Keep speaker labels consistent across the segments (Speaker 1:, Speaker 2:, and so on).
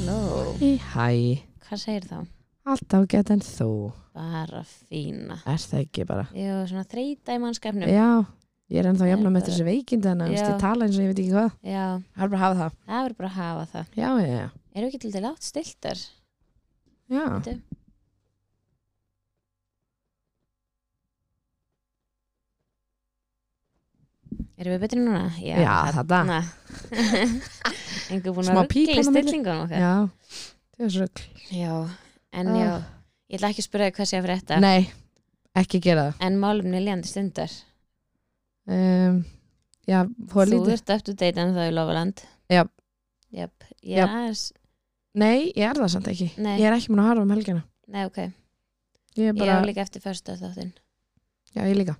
Speaker 1: Hei hæ,
Speaker 2: Hvað segir þá?
Speaker 1: allt ágætt en þú
Speaker 2: Bara fína.
Speaker 1: Er það ekki bara
Speaker 2: Jú, svona þreita í mannskapnum.
Speaker 1: Já, ég er ennþá
Speaker 2: Það er
Speaker 1: jafna með
Speaker 2: bara-
Speaker 1: þessi veikindi þannig að
Speaker 2: Já.
Speaker 1: ég tala eins og ég veit ekki hvað
Speaker 2: Já,
Speaker 1: Það er bara að hafa það
Speaker 2: það verður bara að hafa það.
Speaker 1: Já, já, já,
Speaker 2: Eru ekki til þetta látt stiltar?
Speaker 1: já.
Speaker 2: Bíddu. Erum við betri núna? Já,
Speaker 1: Já, þarna.
Speaker 2: Engu búin að
Speaker 1: Smá pík
Speaker 2: ruggla í
Speaker 1: þarna á milli.
Speaker 2: stillingunum okkar.
Speaker 1: já. Það er svo rugl.
Speaker 2: Já, en
Speaker 1: Ah.
Speaker 2: já, ég ætla ekki að spura þig hvað sé að frétta.
Speaker 1: Nei, ekki gera það
Speaker 2: En málumni ljandi stundar.
Speaker 1: um, Já,
Speaker 2: Þú
Speaker 1: fór lítið
Speaker 2: ert up to date en það er lofaland.
Speaker 1: Jafn.
Speaker 2: Jáp.
Speaker 1: Jafn.
Speaker 2: Jás.
Speaker 1: Nei, ég er það samt ekki
Speaker 2: Nei.
Speaker 1: Ég er ekki mun að harfa um helgina
Speaker 2: Nei, ok.
Speaker 1: Ég er
Speaker 2: Ég
Speaker 1: bara,
Speaker 2: á líka eftir fyrsta þáttinn.
Speaker 1: já, ég líka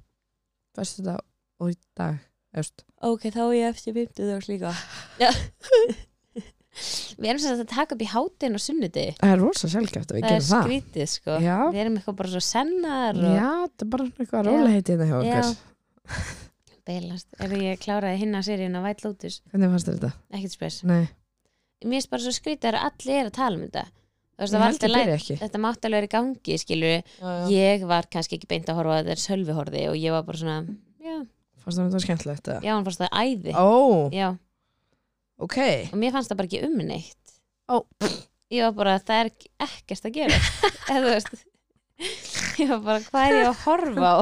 Speaker 1: Fyrstu dag og í dag Öst.
Speaker 2: Ok, þá er ég eftir 50 dags líka. Við erum sem sagt að taka upp í hátinn og sunnudegi.
Speaker 1: Það er rosa sjálfgæft að við
Speaker 2: það er
Speaker 1: gerum það
Speaker 2: skrítið sko
Speaker 1: Já.
Speaker 2: við erum eitthvað bara svo sennar og
Speaker 1: Já, það er bara svona eitthvað
Speaker 2: Já.
Speaker 1: róla heitið hjá okkur
Speaker 2: Já. beilast, er ég kláraði hinna seríun á White Lotus,
Speaker 1: Hvernig fannst þér þetta?
Speaker 2: ekkert spes
Speaker 1: Nei,
Speaker 2: mér finnst bara svo skrítið að allir er að tala um þetta Þú veist,
Speaker 1: ég
Speaker 2: það var
Speaker 1: held
Speaker 2: alltaf
Speaker 1: ég
Speaker 2: læg
Speaker 1: byrja ekki
Speaker 2: þetta mátti alveg vera í gangi skilur
Speaker 1: Ég-
Speaker 2: ég var kannski ekki beint að horfa á þetta er sölvi horfi og ég var bara svona já,
Speaker 1: Fannst þér þetta skemmtilegt? eða?
Speaker 2: já hann fannst það æði
Speaker 1: Ó,
Speaker 2: já,
Speaker 1: ok
Speaker 2: og mér fannst það bara ekki um neitt
Speaker 1: Ó.
Speaker 2: ég var bara það er ekkert að gera eða þú veist ég var bara hvað er ég að horfa á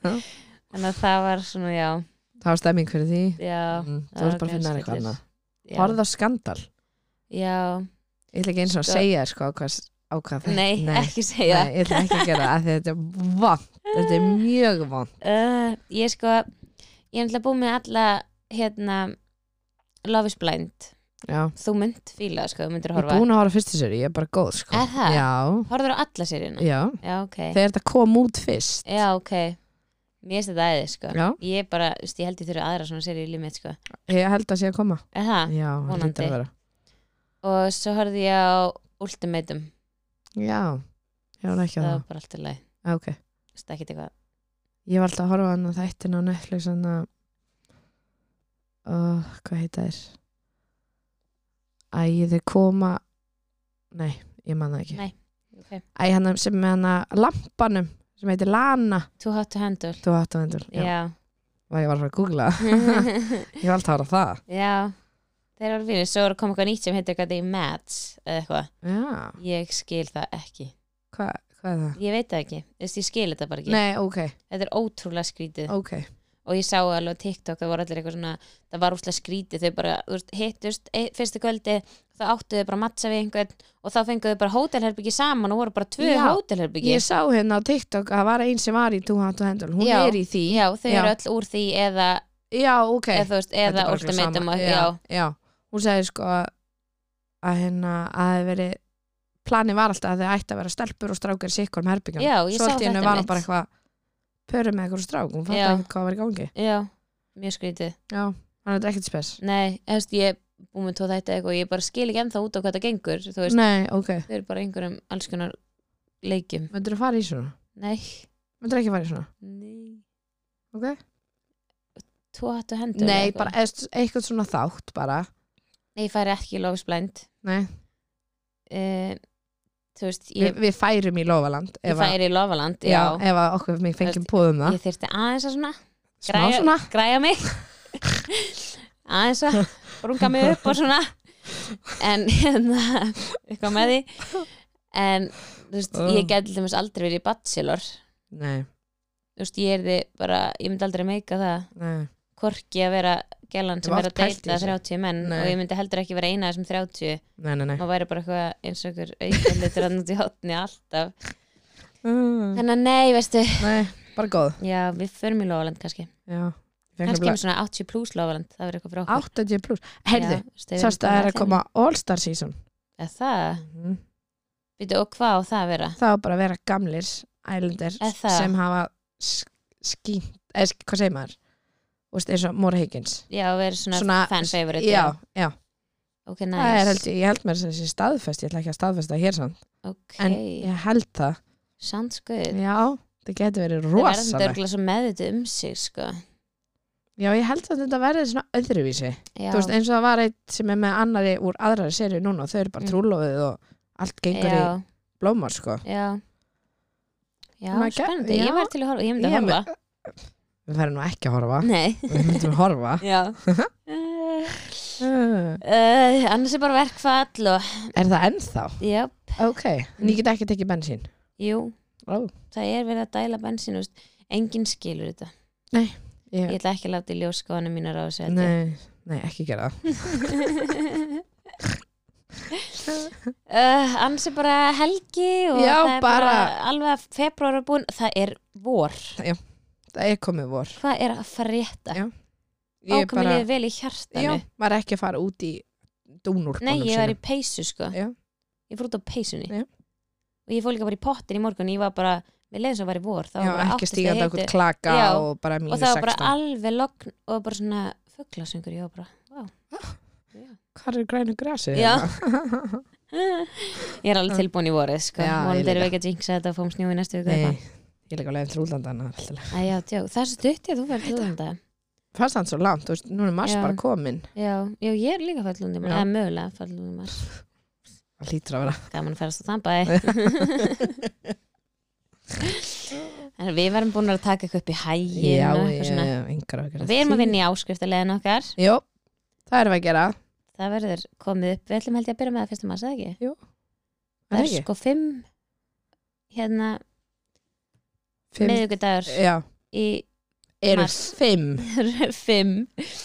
Speaker 2: þannig að það var svona já,
Speaker 1: Það var stemming fyrir því
Speaker 2: já
Speaker 1: Mm, Þú ert bara að finna þér eitthvað annað
Speaker 2: Já.
Speaker 1: Horða skandal
Speaker 2: Já,
Speaker 1: Ég ætla ekki eins og að
Speaker 2: Sko-
Speaker 1: segja þér sko á hvað, á hvað það-
Speaker 2: nei, ekki segja
Speaker 1: Nei, ég ætla ekki að gera það af því að þetta er vant Þetta er mjög vant
Speaker 2: uh, Ég sko Ég er náttúrulega búið með alla hérna, Love is blind
Speaker 1: Já.
Speaker 2: Þú mynd fíla, það, sko, þú myndir
Speaker 1: Ég er
Speaker 2: horfa
Speaker 1: búin að horfa fyrstu séri, ég er bara góð sko.
Speaker 2: Er það?
Speaker 1: Já,
Speaker 2: Horður á alla seríuna
Speaker 1: já
Speaker 2: Já, ok
Speaker 1: Þegar þetta kom út fyrst
Speaker 2: Já, ok Mér finnst þetta aðeins, sko
Speaker 1: Já,
Speaker 2: Ég bara, þú veist, ég held ég þurfi aðra svona seríu í limit, sko
Speaker 1: ég held að sé að koma
Speaker 2: Er það?
Speaker 1: Já, það
Speaker 2: vonandi.
Speaker 1: lítur að vera
Speaker 2: Og svo horfði ég á Ultimatum
Speaker 1: Já, ég var ekki að
Speaker 2: Það
Speaker 1: það
Speaker 2: var bara alltaf leið
Speaker 1: Já, ok.
Speaker 2: Það er ekkert eitthvað
Speaker 1: Ég var alltaf að horfa á hann að þættin á Netflix hann að oh, hvað heita þér Æ, þeir koma Nei, ég man það ekki
Speaker 2: Nei. okay.
Speaker 1: Æ, hann sem með hann að lampanum sem heitir Lana
Speaker 2: Too hot to handle
Speaker 1: Þú hattu hendur Já,
Speaker 2: Já,
Speaker 1: Vá, ég var að fara að googla það. Ég var alltaf að horfa á það
Speaker 2: Já, þeir eru fínir Svo er að koma eitthvað nýtt sem heitir eitthvað The Mads eða eitthvað,
Speaker 1: Já,
Speaker 2: ég skil það ekki
Speaker 1: hva, hvað er það?
Speaker 2: Ég veit það ekki, þú veist, ég skil þetta bara ekki
Speaker 1: Nei, ok,
Speaker 2: Þetta er ótrúlega skrítið
Speaker 1: ok
Speaker 2: og ég sá alveg á TikTok, það voru allir eitthvað svona það var úslega skrítið, þau bara þú veist, hittust e, fyrsta kvöldi, þá áttu þau bara að matsa við einhvern og þá fenguðu þau bara hótelherbyggi saman og voru bara tvö
Speaker 1: Já,
Speaker 2: hótelherbyggi
Speaker 1: Ég sá hérna á TikTok að það var einn sem var í Þú hattu hendur, hún
Speaker 2: Já.
Speaker 1: er í því
Speaker 2: Já, þau
Speaker 1: Já.
Speaker 2: eru öll úr því eða,
Speaker 1: Já, ok
Speaker 2: eða þú veist,
Speaker 1: Þetta
Speaker 2: eða
Speaker 1: er bara eitthvað
Speaker 2: ultimatum
Speaker 1: sama.
Speaker 2: og,
Speaker 1: já,
Speaker 2: já,
Speaker 1: já. hún sagði sko að- að hérna að það veri planið var alltaf að þau ætti að vera stelpur og strákar í sikkur með herbyggjan
Speaker 2: Já, ég sá
Speaker 1: allt í einu
Speaker 2: þetta
Speaker 1: var hún
Speaker 2: mitt.
Speaker 1: bara eitthvað pörum með eitthvað strák, hún fann
Speaker 2: Já.
Speaker 1: ekki hvað var í gangi
Speaker 2: já, mjög skrítið
Speaker 1: já, hann er ekkert spes
Speaker 2: Nei, þú veist, ég er búin með tóð þetta eitthvað og ég bara skil ekki ennþá út á hvað það gengur þú veist,
Speaker 1: nei, ok,
Speaker 2: þau eru bara í einhverjum alls konar leikjum
Speaker 1: myndur þú fara í svona?
Speaker 2: Nei,
Speaker 1: myndur ekki fara í svona?
Speaker 2: nei
Speaker 1: Ok.
Speaker 2: Tvo hattu hendur
Speaker 1: nei, bara eð- eitthvað svona þátt bara
Speaker 2: Nei, ég færi ekki í Love is Blind
Speaker 1: nei,
Speaker 2: uh, Þú veist,
Speaker 1: við,
Speaker 2: ég,
Speaker 1: við færum í Lofaland
Speaker 2: ég
Speaker 1: ef að-
Speaker 2: færi í Lofaland
Speaker 1: já,
Speaker 2: Já,
Speaker 1: ef að okkur mig fengjum púðum það
Speaker 2: ég þyrfti aðeins að svona
Speaker 1: smá svona
Speaker 2: græja mig aðeins að brunga mig upp og svona en hérna eitthvað með því en þú veist, ég gæti til dæmis aldrei verið í bachelor
Speaker 1: nei,
Speaker 2: þú veist, ég er því bara, ég myndi aldrei meika það
Speaker 1: nei,
Speaker 2: hvorki að vera gælan sem
Speaker 1: Ég hef
Speaker 2: er að
Speaker 1: oft pælt í
Speaker 2: deilta
Speaker 1: þessu.
Speaker 2: 30 menn
Speaker 1: Nei.
Speaker 2: og ég myndi heldur ekki vera eina af þessum 30
Speaker 1: nei, nei, nei.
Speaker 2: maður væri bara eitthvað eins og einhver auðvitað litur að nátti hotni alltaf
Speaker 1: Mm,
Speaker 2: þannig að nei, veistu,
Speaker 1: nei bara góð
Speaker 2: já, við förum í Lofaland kannski
Speaker 1: Já, Ég fekk
Speaker 2: kannski
Speaker 1: nefnilega
Speaker 2: með svona 80 plus Lofaland, það verður eitthvað frá okkur
Speaker 1: 80 pluss Herðu,
Speaker 2: Já,
Speaker 1: sást að það er að koma All Star season
Speaker 2: Er það, veitu, og hvað á það að vera?
Speaker 1: Það var bara að vera gamlir ælendir
Speaker 2: Er það?
Speaker 1: sem hafa sk- skínt, eða sk- hvað segir maður Þú veist, eins og Móra Higgins
Speaker 2: Já, að vera svona,
Speaker 1: Svona-
Speaker 2: fan favorite
Speaker 1: Já, já,
Speaker 2: ok, næs
Speaker 1: það er held ég, ég held mér sem sé staðfest, ég ætla ekki að staðfesta hér sann
Speaker 2: ok,
Speaker 1: en ég held það,
Speaker 2: sounds good
Speaker 1: já, það getur
Speaker 2: það
Speaker 1: verið
Speaker 2: verður
Speaker 1: rosalegt
Speaker 2: örgulega svo meðvitið um sig sko.
Speaker 1: Já, ég held að þetta verði svona öðruvísi
Speaker 2: já,
Speaker 1: Þú veist, eins og það var eitt sem er með annari úr aðrari seri núna og þau eru bara
Speaker 2: Mm.
Speaker 1: mm. trúlófið og allt gengur
Speaker 2: já,
Speaker 1: í blómar sko.
Speaker 2: já já,
Speaker 1: Maður gæ-
Speaker 2: spennandi,
Speaker 1: já.
Speaker 2: ég var til að horfa ég myndi að
Speaker 1: Ég
Speaker 2: horfa,
Speaker 1: Við verðum nú ekki að horfa
Speaker 2: nei
Speaker 1: Við myndum að horfa
Speaker 2: já uh,
Speaker 1: Uh,
Speaker 2: Eh, annars er bara verkfall og,
Speaker 1: Er það ennþá?
Speaker 2: já,
Speaker 1: Ok, en ég get ekki tekið bensín
Speaker 2: jú
Speaker 1: Ó,
Speaker 2: það er verið að dæla bensín þú veist. enginn skilur þetta ég
Speaker 1: ég,
Speaker 2: ætla ekki að láta í ljós skoðanum mínar á þessu held ég.
Speaker 1: nei, nei, ekki gera það
Speaker 2: uh, annars er bara helgi og
Speaker 1: Já,
Speaker 2: það er bara,
Speaker 1: bara-
Speaker 2: alveg að februar er búin það er vor,
Speaker 1: Það er komið vor
Speaker 2: hvað er að frétta
Speaker 1: Já, Ég
Speaker 2: ákomið bara... vel í hjartanu
Speaker 1: já, maður er ekki að fara út í dúnúrkunum
Speaker 2: nei, ég var í peysu sko
Speaker 1: Já.
Speaker 2: ég fór út á peysunni
Speaker 1: Já.
Speaker 2: og ég fór líka bara í pottin í morgun ég var bara, við leiðum svo að vera í vor það var
Speaker 1: Já,
Speaker 2: bara 8
Speaker 1: ekki
Speaker 2: stig
Speaker 1: stígandi
Speaker 2: hiti.
Speaker 1: okkur klaka
Speaker 2: Já,
Speaker 1: og bara
Speaker 2: og
Speaker 1: mínus
Speaker 2: það var
Speaker 1: 16
Speaker 2: bara alveg logn og bara svona fugglasöngur ég var bara, wow
Speaker 1: Hvað er grænu grasi?
Speaker 2: Já.
Speaker 1: hérna?
Speaker 2: ég er alveg tilbúin í vorið sko.
Speaker 1: Já, ég
Speaker 2: vonandi erum við
Speaker 1: líka.
Speaker 2: ekki að jinxa þetta og fáum snjó í næstu viku
Speaker 1: Nei,
Speaker 2: eitthvað.
Speaker 1: ég er líka að leiðin til útlandana alltaf.
Speaker 2: Æ, já, djó, það er svo stutt ég að þú verður til útlanda
Speaker 1: Fannst hann svo langt, þú veist, nú er mars
Speaker 2: Já.
Speaker 1: bara komin
Speaker 2: já, já, ég er líka fallandi
Speaker 1: Já.
Speaker 2: eða mögulega fallandi mars
Speaker 1: Það hlýtur að vera
Speaker 2: gaman að ferast á þann bæ en við verðum búin að taka eitthvað upp í hægin
Speaker 1: Já,
Speaker 2: og
Speaker 1: ég-
Speaker 2: eitthvað svona
Speaker 1: engar áhyggjur af
Speaker 2: við erum
Speaker 1: því.
Speaker 2: að vinna í áskriftarlegin okkar
Speaker 1: Jó, það erum við að gera
Speaker 2: það verður komið upp, við ætlum held ég að byrja með það fyrsta mars, eða ekki?
Speaker 1: Er
Speaker 2: það
Speaker 1: það
Speaker 2: er
Speaker 1: ekki?
Speaker 2: sko fimm hérna,
Speaker 1: Fimm-
Speaker 2: sko miðvikudagur
Speaker 1: Já,
Speaker 2: í
Speaker 1: eru
Speaker 2: Mars.
Speaker 1: fimm
Speaker 2: fimm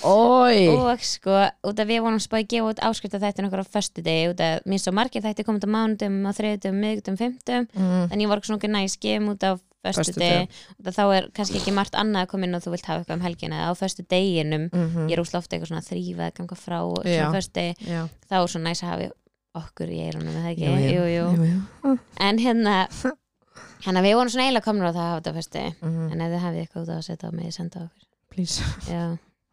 Speaker 1: Ói,
Speaker 2: og sko, út af við vonum spáði gefa út áskrift af þættin okkur á föstu degi út af minnst svo margir þætti komið á mánudum á þriðutum, miðgutum, fymtum
Speaker 1: Mm,
Speaker 2: en ég var svona okkur næs, gefum út á föstu degi
Speaker 1: Föstudegi.
Speaker 2: og þá er kannski ekki margt annað að koma inn og þú vilt hafa eitthvað um helgina eða á föstu deginum,
Speaker 1: mhm,
Speaker 2: ég er úr slofti eitthvað svona að þrýfa eða ganga frá og
Speaker 1: Já.
Speaker 2: svona föstu degi
Speaker 1: já.
Speaker 2: þá er svona næs að hafa okkur í eirunum eða ekki,
Speaker 1: Jú, jú,
Speaker 2: jú, jú.
Speaker 1: Jú, jú.
Speaker 2: en hérna hérna við vorum svona eiginlega komnur á það að hafa þetta á föstu
Speaker 1: Mhm,
Speaker 2: en ef þið hafið eitthvað út á að setja á mig senda okkur
Speaker 1: Please
Speaker 2: já,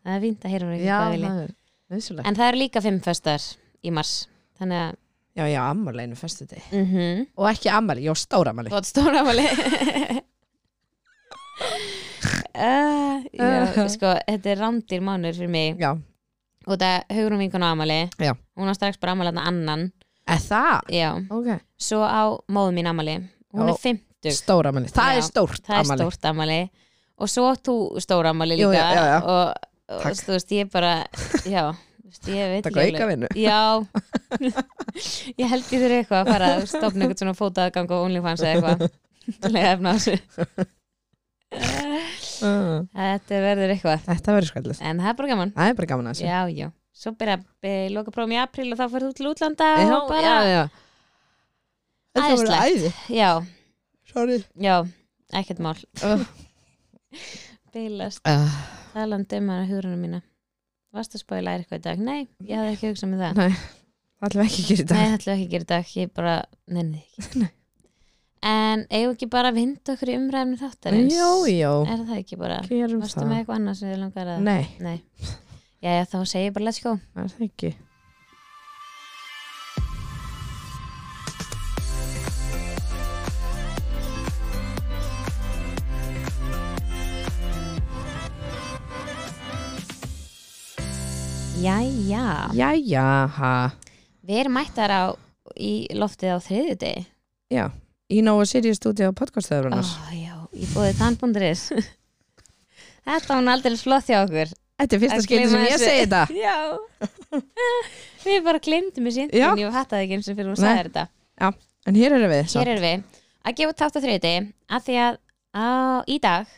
Speaker 2: það er fínt að heyra frá ykkur
Speaker 1: Já,
Speaker 2: hvað viljið.
Speaker 1: það er nöðsynlega
Speaker 2: En það eru líka fimm föstar í mars Þannig að
Speaker 1: Já, já, ammarleginu fyrstu deg
Speaker 2: mm -hmm.
Speaker 1: Og ekki ammali, já, stóra ammali
Speaker 2: Þú átt stóra afmæli uh,
Speaker 1: Uh-huh.
Speaker 2: Já, sko, þetta er rándir mánur fyrir mig
Speaker 1: Já,
Speaker 2: Og það haugurum vinkun á afmæli
Speaker 1: Já.
Speaker 2: Hún var strax bara afmæli þarna annan
Speaker 1: eða það
Speaker 2: Já,
Speaker 1: Ok,
Speaker 2: svo á móðu mín afmæli Hún
Speaker 1: Já.
Speaker 2: er fimmtug
Speaker 1: stóra ammali Það
Speaker 2: Já,
Speaker 1: er stórt
Speaker 2: Það er
Speaker 1: ammali
Speaker 2: stórt afmæli Og svo átt þú stóra afmæli
Speaker 1: Jú,
Speaker 2: líka
Speaker 1: já, já, já.
Speaker 2: Og, og
Speaker 1: Takk.
Speaker 2: þú veist, ég bara Já, þú veist, ég veit
Speaker 1: Takk
Speaker 2: ekki
Speaker 1: að
Speaker 2: alveg-
Speaker 1: auka vinnu
Speaker 2: Já Ég held ég þurfi eitthvað að fara að stopna eitthvað svona fótaðgang og OnlyFans eða eitthvað til að efna á þessu Mm. Þetta verður eitthvað
Speaker 1: Þetta verður skallið
Speaker 2: En það er bara gaman
Speaker 1: Það er bara gaman að þessu
Speaker 2: Já, já Svo byrja að loka prófum í apríl og þá fyrir þú til útlanda og bara
Speaker 1: já, já. Þetta verður
Speaker 2: Æðislegt.
Speaker 1: æði
Speaker 2: já,
Speaker 1: Sorry
Speaker 2: já, ekkert mál
Speaker 1: uh,
Speaker 2: Bílast,
Speaker 1: uh,
Speaker 2: talandi um hana hugurunum mína Varst að spóið læra eitthvað í dag? Nei, ég hafði ekki hugsað með það
Speaker 1: Nei, það ætlum við ekki að gera í
Speaker 2: Nei,
Speaker 1: dag
Speaker 2: það ætlum við ekki að gera í dag, ég bara nenni því ekki En eigum við ekki bara að vinda okkur í umræðinu þáttarins?
Speaker 1: Jó, jó,
Speaker 2: Er það ekki bara?
Speaker 1: Sko. gerum
Speaker 2: Varstu
Speaker 1: það
Speaker 2: með eitthvað annað sem þið langar að
Speaker 1: Nei,
Speaker 2: Nei. Jæja, þá segi ég bara let's go
Speaker 1: það er það ekki
Speaker 2: Jæja,
Speaker 1: Jæja, ha
Speaker 2: við erum mættar á í loftið á þriðju degi
Speaker 1: Já, í Nóa Sirius stúdíu á
Speaker 2: Ó,
Speaker 1: podcastöðurunars
Speaker 2: já, ég búið tannbúnduris Þetta var hún aldrei flott hjá okkur
Speaker 1: Þetta er fyrsta
Speaker 2: Að
Speaker 1: skipti sem
Speaker 2: gleyma
Speaker 1: ég
Speaker 2: þessu.
Speaker 1: segi þetta
Speaker 2: Já Við bara glemdum í
Speaker 1: Já.
Speaker 2: síntin Ég fattaði ekki eins og fyrir hún
Speaker 1: Nei.
Speaker 2: sagði þetta
Speaker 1: En hér eru við,
Speaker 2: Hér
Speaker 1: samt,
Speaker 2: erum við að gefa út þátt á þriðju degi að því að á, í dag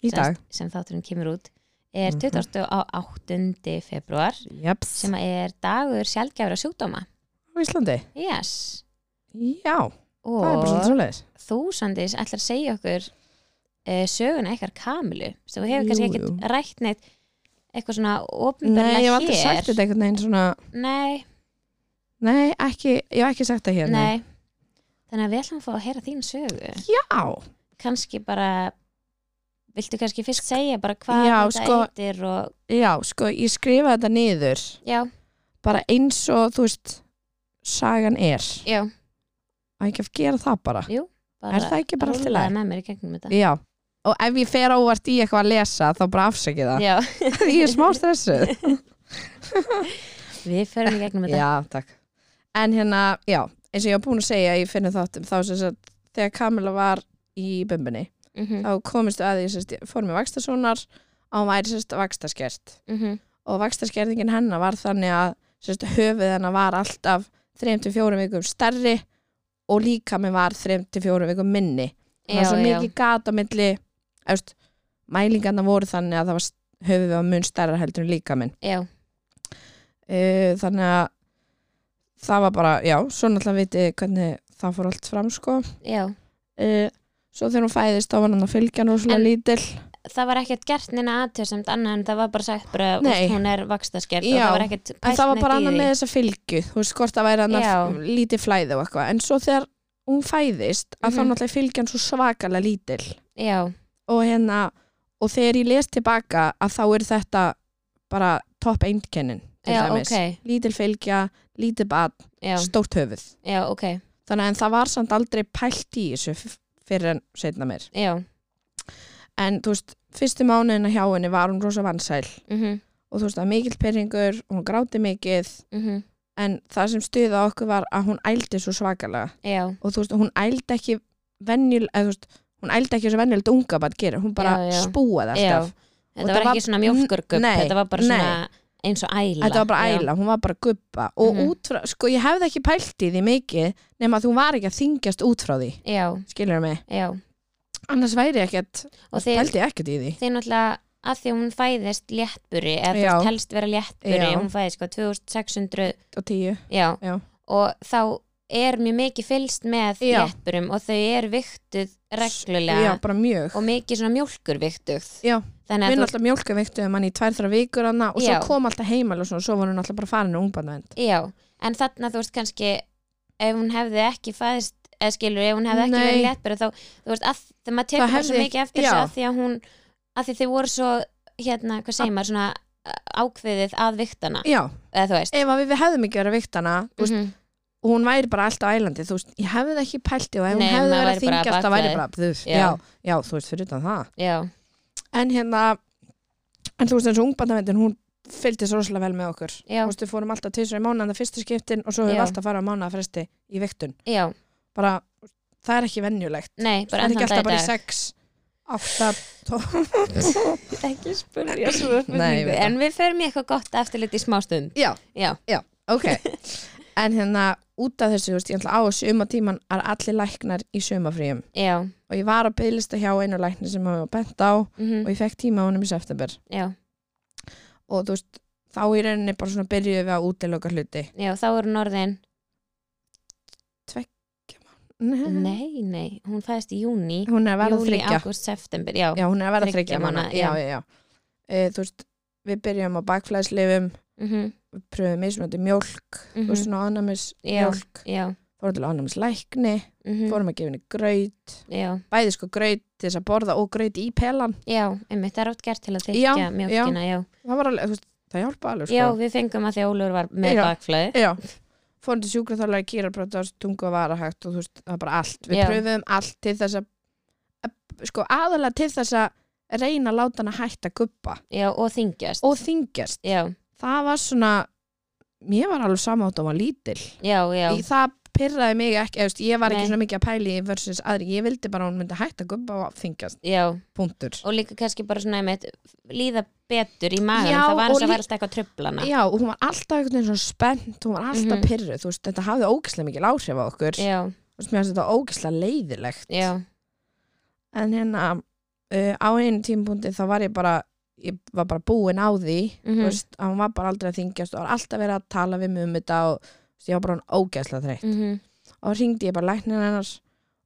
Speaker 1: í
Speaker 2: sem
Speaker 1: dag
Speaker 2: sagt, sem þátturinn kemur út er
Speaker 1: Mhm.
Speaker 2: 28. februar
Speaker 1: Japs,
Speaker 2: sem er dagur sjálfgjafra sjúkdóma
Speaker 1: á Íslandi
Speaker 2: yes.
Speaker 1: Já, það er bara svolítið
Speaker 2: og
Speaker 1: svoleiðis
Speaker 2: þú Sandís ætlar að segja okkur uh, söguna eitthvað kamilu sem þú hefur
Speaker 1: Jú,
Speaker 2: kannski
Speaker 1: jú.
Speaker 2: ekkert rætt neitt eitthvað svona
Speaker 1: Nei, ég hef
Speaker 2: opinberlega
Speaker 1: aldrei sagt
Speaker 2: hér
Speaker 1: þetta einhvern veginn svona
Speaker 2: nei,
Speaker 1: Nei, ekki, ég hef ekki sagt það hérna. hér
Speaker 2: nei þannig að við ætlum að fá að heyra þín sögu
Speaker 1: Já,
Speaker 2: kannski bara viltu kannski fyrst segja bara hvað
Speaker 1: Já,
Speaker 2: þetta
Speaker 1: sko-
Speaker 2: eitir og
Speaker 1: já, sko, ég skrifaði þetta niður
Speaker 2: já,
Speaker 1: bara eins og, þú veist, sagan er
Speaker 2: já,
Speaker 1: að ekki að gera það bara
Speaker 2: bara
Speaker 1: Er það ekki bara allt í
Speaker 2: rúllaði
Speaker 1: lagi?
Speaker 2: með mér í gegnum þetta
Speaker 1: Já, og ef ég fer óvart í eitthvað að lesa þá bara afsæki það
Speaker 2: Já,
Speaker 1: því ég er smá stressuð
Speaker 2: við ferum í gegnum þetta
Speaker 1: Já, takk En hérna, já, eins og ég var búin að segja ég finni þáttum, þá sem sagt þegar Kamila var í bumbunni
Speaker 2: Mhm,
Speaker 1: þá komistu að ég, sem sagt, ég fór með vakstasónar og hún væri sem sagt vakstaskert
Speaker 2: mhm,
Speaker 1: og vakstaskerðingin hennar var þannig að sem sagt, höfuð hennar var alltaf 3-4 vikum stærri og líka minn var 3-4 vikum minni það
Speaker 2: Já,
Speaker 1: var svo
Speaker 2: já.
Speaker 1: mikið gat á milli efst, mælingarna voru þannig að það var höfuð var mun stærra heldur en líka minn
Speaker 2: já
Speaker 1: uh, þannig að það var bara, já, svo náttúrulega viti hvernig það fór allt fram sko
Speaker 2: Já,
Speaker 1: uh, svo þegar hún fæðist þá var hann að fylgja hann rosalega
Speaker 2: En-
Speaker 1: lítill
Speaker 2: það var ekkert gert neina aðtöðsamt annað en það var bara sagt bara úst,
Speaker 1: Nei.
Speaker 2: hún er vakstaskert og
Speaker 1: Já,
Speaker 2: það var ekkert
Speaker 1: en það var bara
Speaker 2: neitt í
Speaker 1: annað
Speaker 2: því.
Speaker 1: með þessa fylgju þú veist hvort það væri hann að
Speaker 2: Já.
Speaker 1: lítið flæði og eitthvað en svo þegar hún fæðist að þá
Speaker 2: Mhm.
Speaker 1: náttúrulega fylgja hann svo svakalega lítill
Speaker 2: Já,
Speaker 1: og hérna, og þegar ég les tilbaka að þá er þetta bara topp einkennin til
Speaker 2: já,
Speaker 1: dæmis
Speaker 2: ok
Speaker 1: lítil fylgja, lítið bad,
Speaker 2: Já,
Speaker 1: stórt höfuð
Speaker 2: já, ok,
Speaker 1: þannig en það var samt aldrei pælt í þessu f- fyrir en setna mér
Speaker 2: já
Speaker 1: en þú veist, fyrstu mánuðina hjá henni var hún rosa vansæl
Speaker 2: mhm,
Speaker 1: og þú veist, það var mikill perringur og hún gráti mikið
Speaker 2: mhm,
Speaker 1: en það sem stuða okkur var að hún ældi svo svakalega
Speaker 2: Já,
Speaker 1: og þú veist, hún ældi ekki venjul, eða þú veist, hún ældi ekki svo venjulegt unga bara að gera, hún bara
Speaker 2: Já, já.
Speaker 1: spúaði
Speaker 2: Já.
Speaker 1: alltaf Og
Speaker 2: þetta
Speaker 1: það
Speaker 2: var
Speaker 1: var-
Speaker 2: ekki svona mjólkurgupp
Speaker 1: Nei,
Speaker 2: þetta var bara
Speaker 1: nei.
Speaker 2: svona eins og æla
Speaker 1: þetta var bara
Speaker 2: Já.
Speaker 1: æla, hún var bara gubba og
Speaker 2: Mhm.
Speaker 1: út frá, sko ég hefði ekki pælt í því mikið nema að þú var ekki að þingjast út frá því
Speaker 2: Já,
Speaker 1: skilur mig,
Speaker 2: já
Speaker 1: annars væri ég ekkert
Speaker 2: og þeir,
Speaker 1: pældi ég ekkert í því
Speaker 2: þeir náttúrulega að því að hún fæðist léttburi eða þú
Speaker 1: Já.
Speaker 2: veist helst vera léttburi
Speaker 1: Já.
Speaker 2: hún fæðist sko 2600
Speaker 1: og tíu
Speaker 2: já,
Speaker 1: Já.
Speaker 2: og þá er mjög mikið fylst með
Speaker 1: Já.
Speaker 2: léttburum og þau er viktuð
Speaker 1: Já,
Speaker 2: reglulega
Speaker 1: bara mjög.
Speaker 2: og mikið svona mjólkur viktuð
Speaker 1: Já.
Speaker 2: þannig
Speaker 1: Við
Speaker 2: að þú,
Speaker 1: náttúrulega mjólkaveiktum um hann í tvær þrjá vikur hana og svo
Speaker 2: Já.
Speaker 1: kom alltaf heimil og svona, svo var hún alltaf bara farin og ungbarnavend.
Speaker 2: já, en þannig að þú veist kannski ef hún hefði ekki fæðist eða skilur, ef hún hefði ekki
Speaker 1: Nei.
Speaker 2: verið léttburi þá, þú veist, að, þegar maður tekur
Speaker 1: Það
Speaker 2: bara svo
Speaker 1: hefði-
Speaker 2: mikið eftir
Speaker 1: já.
Speaker 2: þess að því að hún að því þið voru svo, hérna, hvað segir maður svona uh, ákveðið að viktana
Speaker 1: Já,
Speaker 2: eða þú veist,
Speaker 1: ef að við, við hefðum ekki verið að vikta hana þú veist,
Speaker 2: Mhm.
Speaker 1: og hún væri bara alltaf ælandi, þú veist, ég hefði ekki pælti og
Speaker 2: Nei,
Speaker 1: ef hún hefði
Speaker 2: maður
Speaker 1: verið
Speaker 2: væri
Speaker 1: að
Speaker 2: bara
Speaker 1: þingjast það væri
Speaker 2: baklaði.
Speaker 1: bara, þú veist,
Speaker 2: Já.
Speaker 1: já. já, þú veist, fyrir utan það.
Speaker 2: já,
Speaker 1: En hérna, en þú veist, eins og ungbarnavendin, hún fylgdi svo rosalega vel með okkur.
Speaker 2: já,
Speaker 1: Þú veist, við fórum alltaf tvisra í mánuðan það fyrstu skiptin og svo
Speaker 2: Já.
Speaker 1: höfum við alltaf farið á mánuðafresti í viktun.
Speaker 2: já
Speaker 1: Bara, það er ekki venjulegt.
Speaker 2: nei,
Speaker 1: Það
Speaker 2: bara
Speaker 1: er ekki
Speaker 2: enn þann
Speaker 1: alltaf
Speaker 2: dag
Speaker 1: bara í
Speaker 2: í dag.
Speaker 1: sex, átta, tólf.
Speaker 2: ekki spurja svo
Speaker 1: Nei, ég veit það.
Speaker 2: en við förum í eitthvað gott eftirlit í smástund
Speaker 1: Já,
Speaker 2: Já.
Speaker 1: ok En hérna út af þessu, þú veist, ég ætla á að suma tíman að allir læknar í sumafríum
Speaker 2: já,
Speaker 1: og ég var á bygglista hjá einu lækni sem hafa bent á og
Speaker 2: mhm,
Speaker 1: ég fekk tíma á honum í september
Speaker 2: já
Speaker 1: og þú veist, þá í rauninni bara svona byrjuðum við að útiloka hluti
Speaker 2: Já, þá er hún orðin
Speaker 1: Nei.
Speaker 2: Nei, nei, hún fæðist í júni
Speaker 1: Hún er að verða
Speaker 2: Júli,
Speaker 1: þryggja
Speaker 2: ágúst, september Já,
Speaker 1: Já, hún er að verða
Speaker 2: Þriggja
Speaker 1: þryggja manna
Speaker 2: mánaða,
Speaker 1: Já,
Speaker 2: já.
Speaker 1: já, já e, Þú veist, við byrjum á bakflæðslifum
Speaker 2: Mhm,
Speaker 1: pröfum mismunandi mjólk þú veist,
Speaker 2: mhm,
Speaker 1: svona anamis
Speaker 2: Já.
Speaker 1: mjólk
Speaker 2: já
Speaker 1: fórum til anamis lækni,
Speaker 2: mhm,
Speaker 1: fórum að gefa henni graut
Speaker 2: Já,
Speaker 1: bæði sko graut til þess að borða og graut í pelan
Speaker 2: já, einmitt, það er átt gert til að
Speaker 1: Já,
Speaker 2: þykja
Speaker 1: já.
Speaker 2: mjólkina já.
Speaker 1: það var alveg, þú veist, það hjálpa alveg sko.
Speaker 2: já, við fengum að því að Ólur var með
Speaker 1: Já.
Speaker 2: bakflæði
Speaker 1: já. fórum til sjúkraþálega kýrarbrotar, tungu og varahægt og þú veist, það var bara allt við
Speaker 2: Já.
Speaker 1: pröfum allt til þess að að- sko aðalega til þess að reyna að láta hann að hætta guppa
Speaker 2: Já, og þingjast
Speaker 1: og þingjast
Speaker 2: Já,
Speaker 1: það var svona mér var alveg samátt og var lítil
Speaker 2: já, já,
Speaker 1: Í, það pyrraði mig ekki, eða, þú veist, ég var ekki
Speaker 2: Nei.
Speaker 1: svona mikið að pæli versus aðri, ég vildi bara að hún myndi hætta guppa og þingjast,
Speaker 2: já
Speaker 1: punktur
Speaker 2: Og líka kannski bara svona einmitt líða betur í maður
Speaker 1: Já,
Speaker 2: Það var
Speaker 1: og
Speaker 2: eins og
Speaker 1: lí-
Speaker 2: væri alltaf eitthvað tröflana
Speaker 1: Já, og hún var alltaf einhvern veginn svona spennt, hún var alltaf
Speaker 2: Mhm.
Speaker 1: pyrruð, þú veist, þetta hafði ógislega mikil áhrif á okkur,
Speaker 2: Já,
Speaker 1: þú veist, mér finnst þetta ógislega leiðilegt.
Speaker 2: já,
Speaker 1: En hérna, uh, á einu tímpúndi þá var ég bara, ég var bara búin á því, þú
Speaker 2: mhm,
Speaker 1: veist, að hún var bara aldrei að þingjast og var alltaf verið að tala við mig um þetta og þú veist, ég var bara hann ógislega þreytt.
Speaker 2: mhm,
Speaker 1: Og hringdi ég bara læknir hennar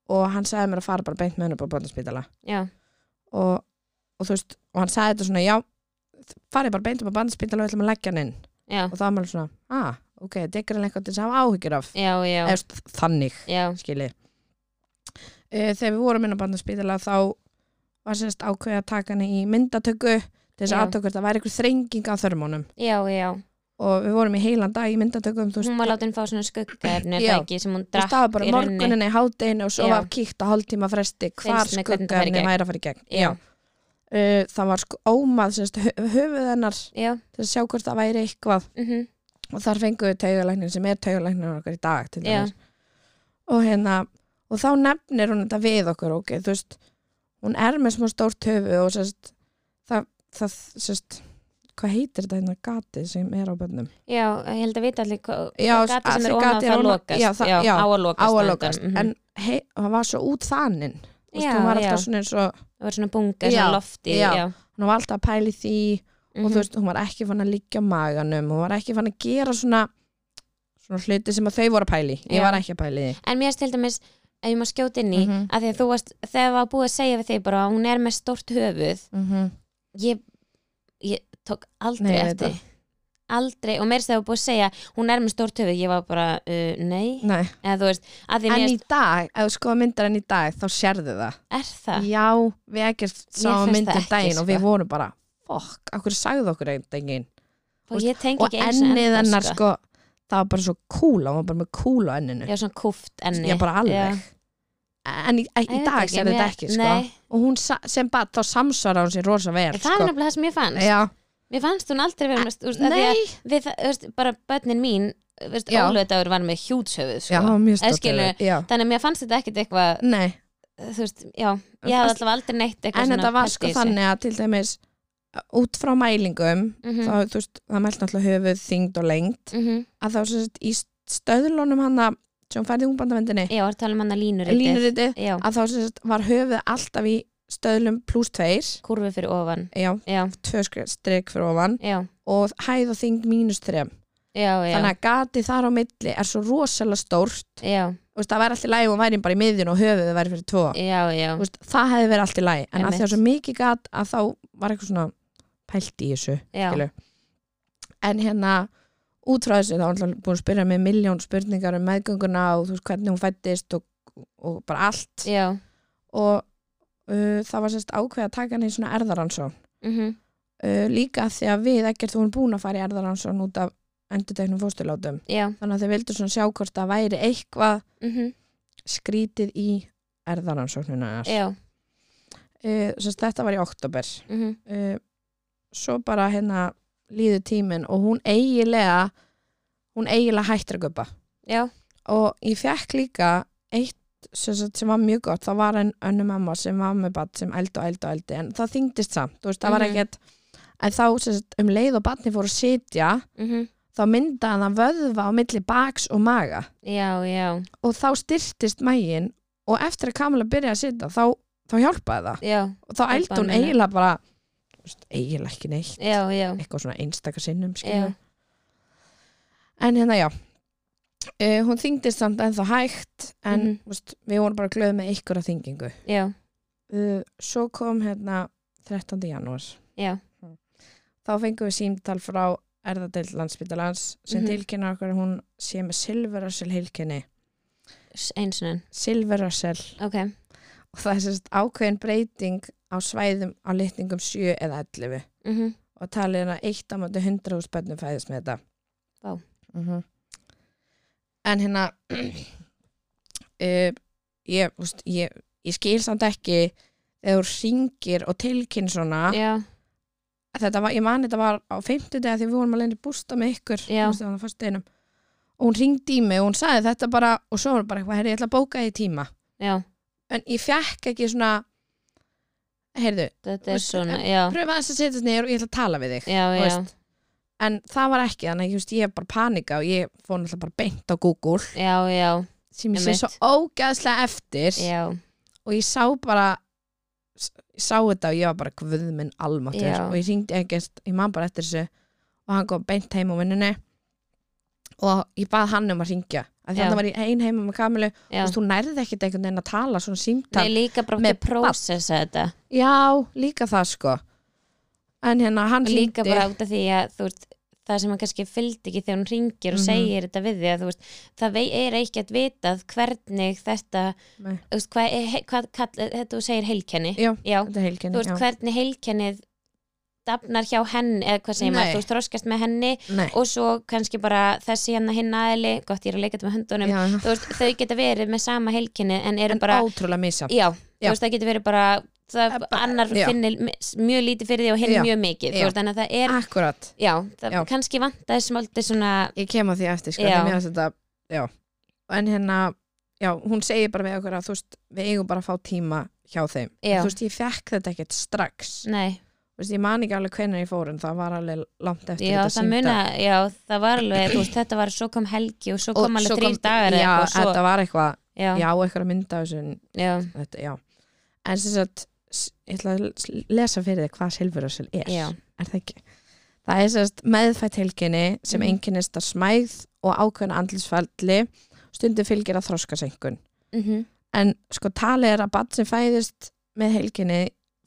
Speaker 1: og hann sagði mér að fara bara beint með henni upp á böndarspítala
Speaker 2: já,
Speaker 1: og, og þú veist, og hann sagði þetta svona, já, farið bara beint upp á böndarspítala og við ætlum að leggja hann inn.
Speaker 2: já,
Speaker 1: og það var maður svona, ah, ok, þetta er greinlega eitthvað til þess að hafa áhyggjur af
Speaker 2: já, já,
Speaker 1: Eðst, þannig,
Speaker 2: já,
Speaker 1: skili e, þegar við vorum inn á bandarspítala þá var sérst ákveðið að taka hann í myndatöku til þess
Speaker 2: Já.
Speaker 1: að aðtökur það væri eitthvað þrenging á þörmónum
Speaker 2: já, já,
Speaker 1: og við vorum í heilan dag í myndatökum þú veist,
Speaker 2: hún var látin fá svona skuggaefni er
Speaker 1: Já.
Speaker 2: það ekki, sem hún
Speaker 1: þú
Speaker 2: Mm, drakk
Speaker 1: veist, það var
Speaker 2: í
Speaker 1: bara
Speaker 2: rauninni.
Speaker 1: morguninni, hádeginu og svo
Speaker 2: Já.
Speaker 1: var kíkt á hálftíma fresti hvar
Speaker 2: Fylgst með hvernig það fer í
Speaker 1: skuggaefni
Speaker 2: gegn.
Speaker 1: væri að fara í gegn
Speaker 2: Já.
Speaker 1: Uh, það var sko ómað sérst, höfuð hennar
Speaker 2: já,
Speaker 1: til að sjá hvort það væri eitthvað
Speaker 2: mm
Speaker 1: og þar fenguðu taugalæknir sem er taugalæknir okkar í dag til
Speaker 2: já,
Speaker 1: dæmis. og hérna og þá nefnir hún þetta við okkur ok, þú veist, hún er með smá stórt höfuð og sérst það, það sérst hvað heitir þetta hérna gatið sem er á bönnum
Speaker 2: já, ég held að vita allir hvað
Speaker 1: Já,
Speaker 2: hvað gata sem
Speaker 1: allir
Speaker 2: er ónað
Speaker 1: gati er
Speaker 2: það
Speaker 1: ofan á-
Speaker 2: lokast
Speaker 1: já, það- já,
Speaker 2: á að
Speaker 1: á
Speaker 2: lokast,
Speaker 1: að
Speaker 2: á
Speaker 1: lokast
Speaker 2: endanum, mhm.
Speaker 1: en hei, hann var svo út þaninn Þú veist,
Speaker 2: Já,
Speaker 1: hún var alltaf
Speaker 2: já.
Speaker 1: svona eins og
Speaker 2: það var svona bunga,
Speaker 1: Já,
Speaker 2: svona lofti
Speaker 1: já.
Speaker 2: já,
Speaker 1: hún var alltaf að pæli því og þú
Speaker 2: mhm.
Speaker 1: veist, hún var ekki fann að liggja á maganum hún var ekki fann að gera svona svona hluti sem að þau voru að pæli ég
Speaker 2: Já.
Speaker 1: var ekki að pæli því
Speaker 2: en mér erst til dæmis ef ég má skjóta inn í mm
Speaker 1: Mhm.
Speaker 2: að því að þú varst, þegar var búið að segja við þig bara að hún er með stórt höfuð ég, ég tók aldrei
Speaker 1: Nei, ég veit
Speaker 2: eftir
Speaker 1: það.
Speaker 2: aldrei, og mér þegar var búið að segja hún er með stórt höfuð, ég var bara uh, nei,
Speaker 1: Nei.
Speaker 2: eða þú veist, að því
Speaker 1: en
Speaker 2: mér
Speaker 1: í dag, ef þú skoða myndar en í dag þá sérðu það
Speaker 2: er það
Speaker 1: já, við ekki
Speaker 2: finnst
Speaker 1: sáum
Speaker 2: það
Speaker 1: myndar
Speaker 2: ekki,
Speaker 1: daginn og
Speaker 2: sko.
Speaker 1: við vorum bara fokk, okkur sagði okkur einn
Speaker 2: og ég tengi
Speaker 1: og
Speaker 2: ekki einu sinni
Speaker 1: ennið
Speaker 2: ennþá,
Speaker 1: hennar sko, það var bara svo kúla hún var bara með kúla á enninu
Speaker 2: já, svona kúft enni
Speaker 1: ég
Speaker 2: Já.
Speaker 1: bara alveg en í, í
Speaker 2: Ég veit
Speaker 1: dag
Speaker 2: ekki,
Speaker 1: sér þetta
Speaker 2: mér-
Speaker 1: ekki sko.
Speaker 2: nei.
Speaker 1: og hún sa- sem bara þá samsvara hún sér rosa verð
Speaker 2: það er
Speaker 1: sko.
Speaker 2: nefnilega það sem ég fannst
Speaker 1: Já.
Speaker 2: mér fannst hún aldrei vera með, þú veist, að því að
Speaker 1: nei,
Speaker 2: við, það- þú veist, bara börnin mín þú veist,
Speaker 1: Já.
Speaker 2: ólöðdagur var með hjútshöfuð sko.
Speaker 1: já, hún var mjög
Speaker 2: En
Speaker 1: stórt
Speaker 2: skilur-
Speaker 1: yfir. Já.
Speaker 2: þannig að mér fannst þetta ekkit eitthvað
Speaker 1: nei,
Speaker 2: þú veist, já, ég hafði alltaf aldrei neitt eitthvað
Speaker 1: en
Speaker 2: svona
Speaker 1: þetta var
Speaker 2: pælt í
Speaker 1: sko
Speaker 2: þessu.
Speaker 1: þannig að til dæmis út frá mælingum
Speaker 2: Mhm.
Speaker 1: þá, þú veist, það mælt náttúrulega höfuð þyngd og lengt
Speaker 2: Mhm.
Speaker 1: að þá sem sagt í stöðlunum hana sem hún færði ungbandavendinni
Speaker 2: Já, er að tala um hann að línurítið
Speaker 1: línuriti,
Speaker 2: Já,
Speaker 1: að þá sem sagt var höfuð alltaf í stöðlum pluss tveir
Speaker 2: kurfi fyrir ofan
Speaker 1: já,
Speaker 2: Já,
Speaker 1: tvö skre- strik fyrir ofan
Speaker 2: já,
Speaker 1: og hæð og þyngd mínus þrem
Speaker 2: já, já,
Speaker 1: þannig að gati þar á milli er svo rosalega stórt
Speaker 2: já,
Speaker 1: Þú veist, það væri allt í lægi og væri bara í miðjun og höfuð væri fyrir tvo
Speaker 2: já, já.
Speaker 1: Þú veist, það hefði verið allt í lægi en að því
Speaker 2: Einmitt.
Speaker 1: að svo mikið gat að þá var eitthvað svona pælt í þessu
Speaker 2: já.
Speaker 1: skilur. en hérna út frá þessu þá er alltaf búin að spyrja mig miljón spurningar um meðgönguna og þú veist hvernig hún fættist og, og bara allt
Speaker 2: Já,
Speaker 1: og uh, það var sérst ákveð að taka hann í svona erðaransón
Speaker 2: mhm,
Speaker 1: uh, líka af því að við ekkert vorum búin að fara í erðaransón út af endurteknum fósturlátum
Speaker 2: já,
Speaker 1: þannig að þau vildu svona sjá hvort það væri eitthvað
Speaker 2: mhm,
Speaker 1: skrítið í erðaransóknuna uh,
Speaker 2: já,
Speaker 1: sérst þetta var í oktober
Speaker 2: mhm,
Speaker 1: uh, svo bara hérna líður tíminn og hún eigilega hún eigilega hættir að guppa
Speaker 2: já,
Speaker 1: og ég fekk líka eitt sem, sagt, sem var mjög gott, það var en önnu mamma sem var með bat sem eld og eld og eldi en það þyngdist samt, þú veist, það var
Speaker 2: Mhm.
Speaker 1: ekkert en þá sem sagt, um leið og batni fór að sitja
Speaker 2: mhm,
Speaker 1: þá myndaði hann vöðva á milli baks og maga
Speaker 2: já, já,
Speaker 1: og þá styrtist magin og eftir að Kamila byrja að sitja þá, þá hjálpaði það
Speaker 2: já,
Speaker 1: og þá eldi hún
Speaker 2: henni.
Speaker 1: eiginlega bara þú veist, eiginlega ekki neitt
Speaker 2: já, já,
Speaker 1: eitthvað svona einstakar sinnum
Speaker 2: já,
Speaker 1: skilur. en hérna já uh, hún þyngdist samt ennþá hægt en mm
Speaker 2: Mhm.
Speaker 1: við vorum bara glöð með ykkur að þyngingu
Speaker 2: já,
Speaker 1: uh, svo kom hérna 13. janúar Hm.
Speaker 2: já,
Speaker 1: þá fengum við símtal frá erðadeild landsbytalans sem mm
Speaker 2: Mhm.
Speaker 1: tilkynna okkur að hún sé með silverössel heilkenni
Speaker 2: einsunan,
Speaker 1: silverössel
Speaker 2: ok,
Speaker 1: og það er sérst ákveðin breyting á svæðum á litningum 7 eða 11
Speaker 2: mhm,
Speaker 1: og talið er að eitt á mætu 100 hús bönnum fæðist með þetta
Speaker 2: Vá.
Speaker 1: Mhm. en hérna uh, ég, úst, ég, ég skil samt ekki þegar þú ringir og tilkynn svona
Speaker 2: já,
Speaker 1: þetta var, ég man þetta var á 50 dega því við vorum að leiðin bústa með ykkur
Speaker 2: Já.
Speaker 1: manstu, þarna á föstudeginum. og hún ringdi í mig og hún sagði þetta bara og svo var bara eitthvað, herri ég ætla að bóka því tíma
Speaker 2: já,
Speaker 1: en ég fekk ekki svona heyrðu,
Speaker 2: þetta er
Speaker 1: Veist,
Speaker 2: svona,
Speaker 1: en-
Speaker 2: já,
Speaker 1: pröfa þess að setjast niður og ég ætla að tala við þig
Speaker 2: já,
Speaker 1: þú
Speaker 2: já,
Speaker 1: veist. en það var ekki þannig að ég, þú veist, ég bara panika og ég fór náttúrulega bara beint á Google
Speaker 2: já, já,
Speaker 1: sem ég sé
Speaker 2: Einmitt.
Speaker 1: svo ógæðslega eftir
Speaker 2: já,
Speaker 1: og ég sá bara ég sá þetta og ég var bara guð minn almáttur
Speaker 2: Já.
Speaker 1: og ég hringdi ekkert, ég man bara eftir þessu og hann kom beint heim á vinnunni og ég bað hann um að ringja þannig
Speaker 2: Já.
Speaker 1: að það var ég ein heima með Kamilu þú
Speaker 2: já,
Speaker 1: veist, hún nærði ekkert einhvern veginn að tala svona símtal
Speaker 2: nei, líka bara
Speaker 1: með
Speaker 2: til prósessa þetta,
Speaker 1: já, líka það sko en hérna hann
Speaker 2: og líka
Speaker 1: hringdi-
Speaker 2: bara út af því að þú veist það sem hann kannski fylgdi ekki þegar hún ringir og
Speaker 1: Mhm.
Speaker 2: segir þetta við því að þú veist það vei- er ekkert vitað hvernig þetta
Speaker 1: Nei.
Speaker 2: þú veist, hvað, er he- hvað kall, þetta þú segir heilkenni
Speaker 1: já,
Speaker 2: já,
Speaker 1: þetta er
Speaker 2: þú
Speaker 1: heilkenni
Speaker 2: veist
Speaker 1: já.
Speaker 2: hvernig heilkennið dafnar hjá henni eða hvað segir
Speaker 1: Nei.
Speaker 2: maður, þú veist, þroskast með henni
Speaker 1: Nei.
Speaker 2: og svo kannski bara þessi hérna hinn aðili gott ég er að leika þetta með hundunum
Speaker 1: Já,
Speaker 2: þú veist, þau geta verið með sama heilkinni en eru
Speaker 1: en
Speaker 2: bara,
Speaker 1: ótrúlega misjafn
Speaker 2: já,
Speaker 1: Já.
Speaker 2: þú veist, það getur verið bara það,
Speaker 1: Bara-
Speaker 2: annar
Speaker 1: já.
Speaker 2: finnir mi- mjög lítið fyrir því og hinn
Speaker 1: Já.
Speaker 2: mjög mikið,
Speaker 1: Já.
Speaker 2: þú veist, þannig að það er
Speaker 1: Akkurat,
Speaker 2: já, það
Speaker 1: Já.
Speaker 2: kannski vantaði smáltið svona
Speaker 1: ég kem að því eftir sko,
Speaker 2: Já.
Speaker 1: en, þetta, já. en hérna já, hún segir bara við okkur að þú veist, við eigum bara að fá tíma hjá þeim
Speaker 2: Já. Mm.
Speaker 1: þú veist, ég fekk þetta ekkert strax
Speaker 2: nei,
Speaker 1: þú veist, ég man ekki alveg hvenær ég fór en það var alveg langt eftir
Speaker 2: já,
Speaker 1: þetta
Speaker 2: það
Speaker 1: símtal.
Speaker 2: muna já, það var alveg, þú veist, þetta var svo kom helgi og svo
Speaker 1: Og
Speaker 2: kom alveg
Speaker 1: svo
Speaker 2: þrýr dagar
Speaker 1: já,
Speaker 2: eða eitthvað, svo,
Speaker 1: þetta var eitthvað,
Speaker 2: já,
Speaker 1: já, eitthvað að mynda þessu, en
Speaker 2: já,
Speaker 1: þetta, já en sem sagt, s- ég ætla að s- lesa fyrir þig hvað silfurössil er
Speaker 2: já,
Speaker 1: er það ekki? Það er sérst meðfætt helginni sem
Speaker 2: Mhm.
Speaker 1: mm. einkennist að smæð og ákveðna andlisfælli stundum fylgir að þroskasengun.
Speaker 2: mhm,
Speaker 1: En sko talið er að barn sem fæðist með helginni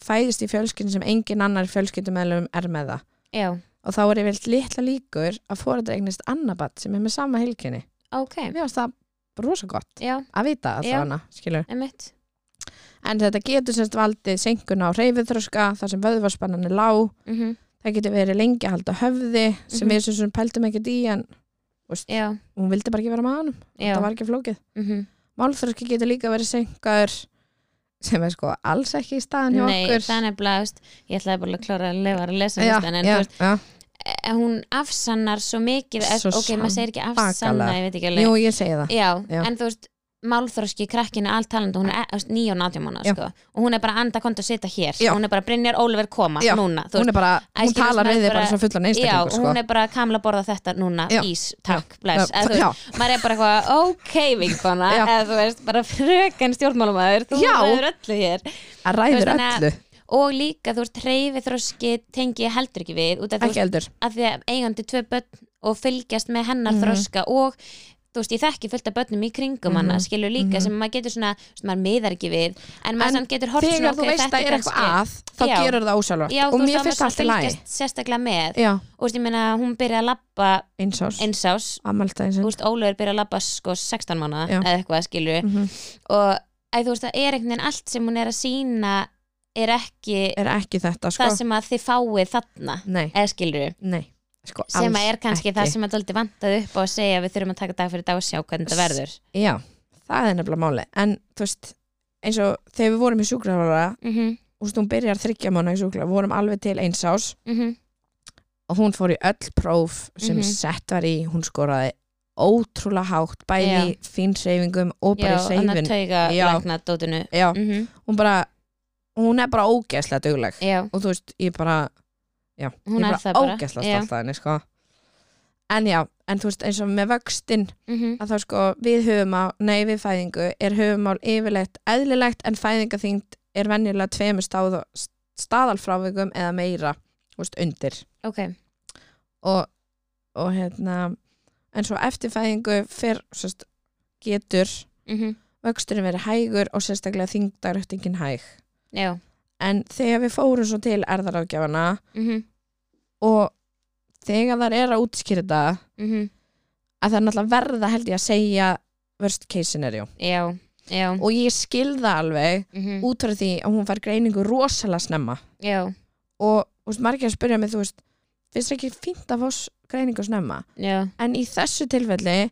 Speaker 1: fæðist í fjölskyldin sem engin annar fjölskyldumeðlum er með það.
Speaker 2: já,
Speaker 1: Og þá er yfirleitt litla líkur að fóreldra eignist annað barn sem er með sama helginni.
Speaker 2: ok
Speaker 1: Mér finnst það rosa gott
Speaker 2: já,
Speaker 1: að vita að
Speaker 2: Já.
Speaker 1: það hana, skilur.
Speaker 2: einmitt
Speaker 1: En þetta getur sérst valdið senkun á reyfiðþroska þar sem vöðvarspannan er lág
Speaker 2: mhm,
Speaker 1: það getur verið lengi að halda höfði sem
Speaker 2: Mhm.
Speaker 1: við sem sem pældum ekkert í en
Speaker 2: já,
Speaker 1: hún vildi bara ekki vera maður
Speaker 2: já,
Speaker 1: það var ekki flókið.
Speaker 2: mhm,
Speaker 1: Málþröski getur líka verið senkaður sem er sko alls ekki í staðan hjá
Speaker 2: nei,
Speaker 1: okkur.
Speaker 2: það er nefnilega, þú veist, ég ætlaði bara að klára að lefa að lesa
Speaker 1: já,
Speaker 2: listan, en
Speaker 1: já,
Speaker 2: þú veist,
Speaker 1: já.
Speaker 2: eh, hún afsannar svo mikið, eh,
Speaker 1: Svo
Speaker 2: ok, maður segir ekki afsanna,
Speaker 1: svakalega.
Speaker 2: ég veit ekki alveg
Speaker 1: Jú, ég segi það.
Speaker 2: já,
Speaker 1: Já.
Speaker 2: en þú veist, málþróski krakkinu allt talandi, hún er e, nýja og nátjum mánu
Speaker 1: Já.
Speaker 2: sko. og hún er bara anda konta að sitja hér
Speaker 1: Já.
Speaker 2: hún er bara Brynjar Ólver koma
Speaker 1: Já,
Speaker 2: núna þú
Speaker 1: Hún er bara,
Speaker 2: Æ,
Speaker 1: hún
Speaker 2: skilur,
Speaker 1: talar
Speaker 2: sem er
Speaker 1: við þig bara
Speaker 2: bara-
Speaker 1: svona fullan
Speaker 2: Já,
Speaker 1: einstaklingur
Speaker 2: og
Speaker 1: sko.
Speaker 2: hún er bara kamla að borða þetta núna,
Speaker 1: Já.
Speaker 2: ís, takk, bless eða, þú
Speaker 1: Já,
Speaker 2: veist, maður er bara eitthvað, ok vinkona
Speaker 1: Já.
Speaker 2: eða þú veist, bara fröken stjórnmálumæður þú
Speaker 1: Já.
Speaker 2: verður öllu hér
Speaker 1: að
Speaker 2: þú veist,
Speaker 1: ræður
Speaker 2: þannig að-
Speaker 1: öllu,
Speaker 2: og líka, þú veist, reyfi þroski tengi ég heldur ekki við, út af þú
Speaker 1: ekki eldur.
Speaker 2: að því að eigandi tvö börn og fylgjast með hennar
Speaker 1: Mhm.
Speaker 2: þroska og þú veist, ég þekki fullt af börnum í kringum
Speaker 1: Mhm.
Speaker 2: hana, skilur líka
Speaker 1: Mhm.
Speaker 2: sem maður getur svona, sem maður miðar ekki við en maður
Speaker 1: En
Speaker 2: samt getur hort
Speaker 1: Þegar þú veist að er eitthvað að, þá
Speaker 2: Já.
Speaker 1: gerur það ósjálfrátt
Speaker 2: já,
Speaker 1: og
Speaker 2: þú
Speaker 1: mér
Speaker 2: veist, þá
Speaker 1: finnst það
Speaker 2: maður
Speaker 1: allt í lagi.
Speaker 2: fylgjast sérstaklega með
Speaker 1: Já,
Speaker 2: og þú veist, ég meina, hún byrja að labba
Speaker 1: eins ás,
Speaker 2: einsás,
Speaker 1: ammælta eins
Speaker 2: þú
Speaker 1: og.
Speaker 2: veist, Ólaugur byrja að labba sko 16 mánuða
Speaker 1: Já.
Speaker 2: eða eitthvað, skilur
Speaker 1: Mhm.
Speaker 2: og að þú veist, það er einhvern veginn allt sem hún er að sína er ekki
Speaker 1: Er ekki þetta sko?
Speaker 2: það sem að þið fáið þarna
Speaker 1: Nei,
Speaker 2: eða skilur
Speaker 1: nei. Sko,
Speaker 2: sem
Speaker 1: alls
Speaker 2: að er kannski
Speaker 1: ekki.
Speaker 2: það sem að dóldi vantaði upp á að segja að við þurfum að taka dag fyrir dag og sjá hvernig þetta
Speaker 1: S-
Speaker 2: verður
Speaker 1: Já, það er nefnilega máli en þú veist, eins og þegar við vorum í sjúkraþjálfara,
Speaker 2: mm -hmm,
Speaker 1: þú veist, hún byrjar þryggja mánu í sjúkra, við vorum alveg til eins ás
Speaker 2: mm-hmm.
Speaker 1: og hún fór í öll próf sem
Speaker 2: Mhm.
Speaker 1: sett var í, hún skoraði ótrúlega hátt, bæði
Speaker 2: Já.
Speaker 1: í fínsreyfingum og
Speaker 2: já,
Speaker 1: bara í
Speaker 2: þannig að
Speaker 1: seyfin
Speaker 2: tauga
Speaker 1: Já.
Speaker 2: lagna dótinu
Speaker 1: Já,
Speaker 2: mm
Speaker 1: hún bara hún er bara ógeðslega dugleg
Speaker 2: já,
Speaker 1: og þú veist, ég bara já,
Speaker 2: Hún
Speaker 1: ég
Speaker 2: er
Speaker 1: bara
Speaker 2: það bara.
Speaker 1: ógeðslega
Speaker 2: Já.
Speaker 1: stolt að henni, sko en já, en þú veist, eins og með vöxtinn
Speaker 2: mm
Speaker 1: að þá sko við höfumál, nei við fæðingu er höfumál yfirleitt eðlilegt en fæðingaþyngd er venjulega tveimur stáð, staðalfrávikum eða meira úst, undir
Speaker 2: ok,
Speaker 1: og, og hérna en svo eftir fæðingu fyrr sest, getur
Speaker 2: mm
Speaker 1: vöxturinn verið hægur og sérstaklega þyngdaröktingin hæg
Speaker 2: já
Speaker 1: en þegar við fórum svo til erðaráðgjafana
Speaker 2: mm -hmm,
Speaker 1: og þegar þar er að útskýra þetta
Speaker 2: mm-hmm,
Speaker 1: að það er náttúrulega verða held ég að segja worst case scenario
Speaker 2: já, já
Speaker 1: og ég skilða alveg
Speaker 2: mm
Speaker 1: út frá því að hún fær greiningu rosalega snemma
Speaker 2: já,
Speaker 1: og þú veist, margir að spyrja mig þú veist, finnst ekki fínt að fá s- greiningu snemma
Speaker 2: já,
Speaker 1: en í þessu tilfelli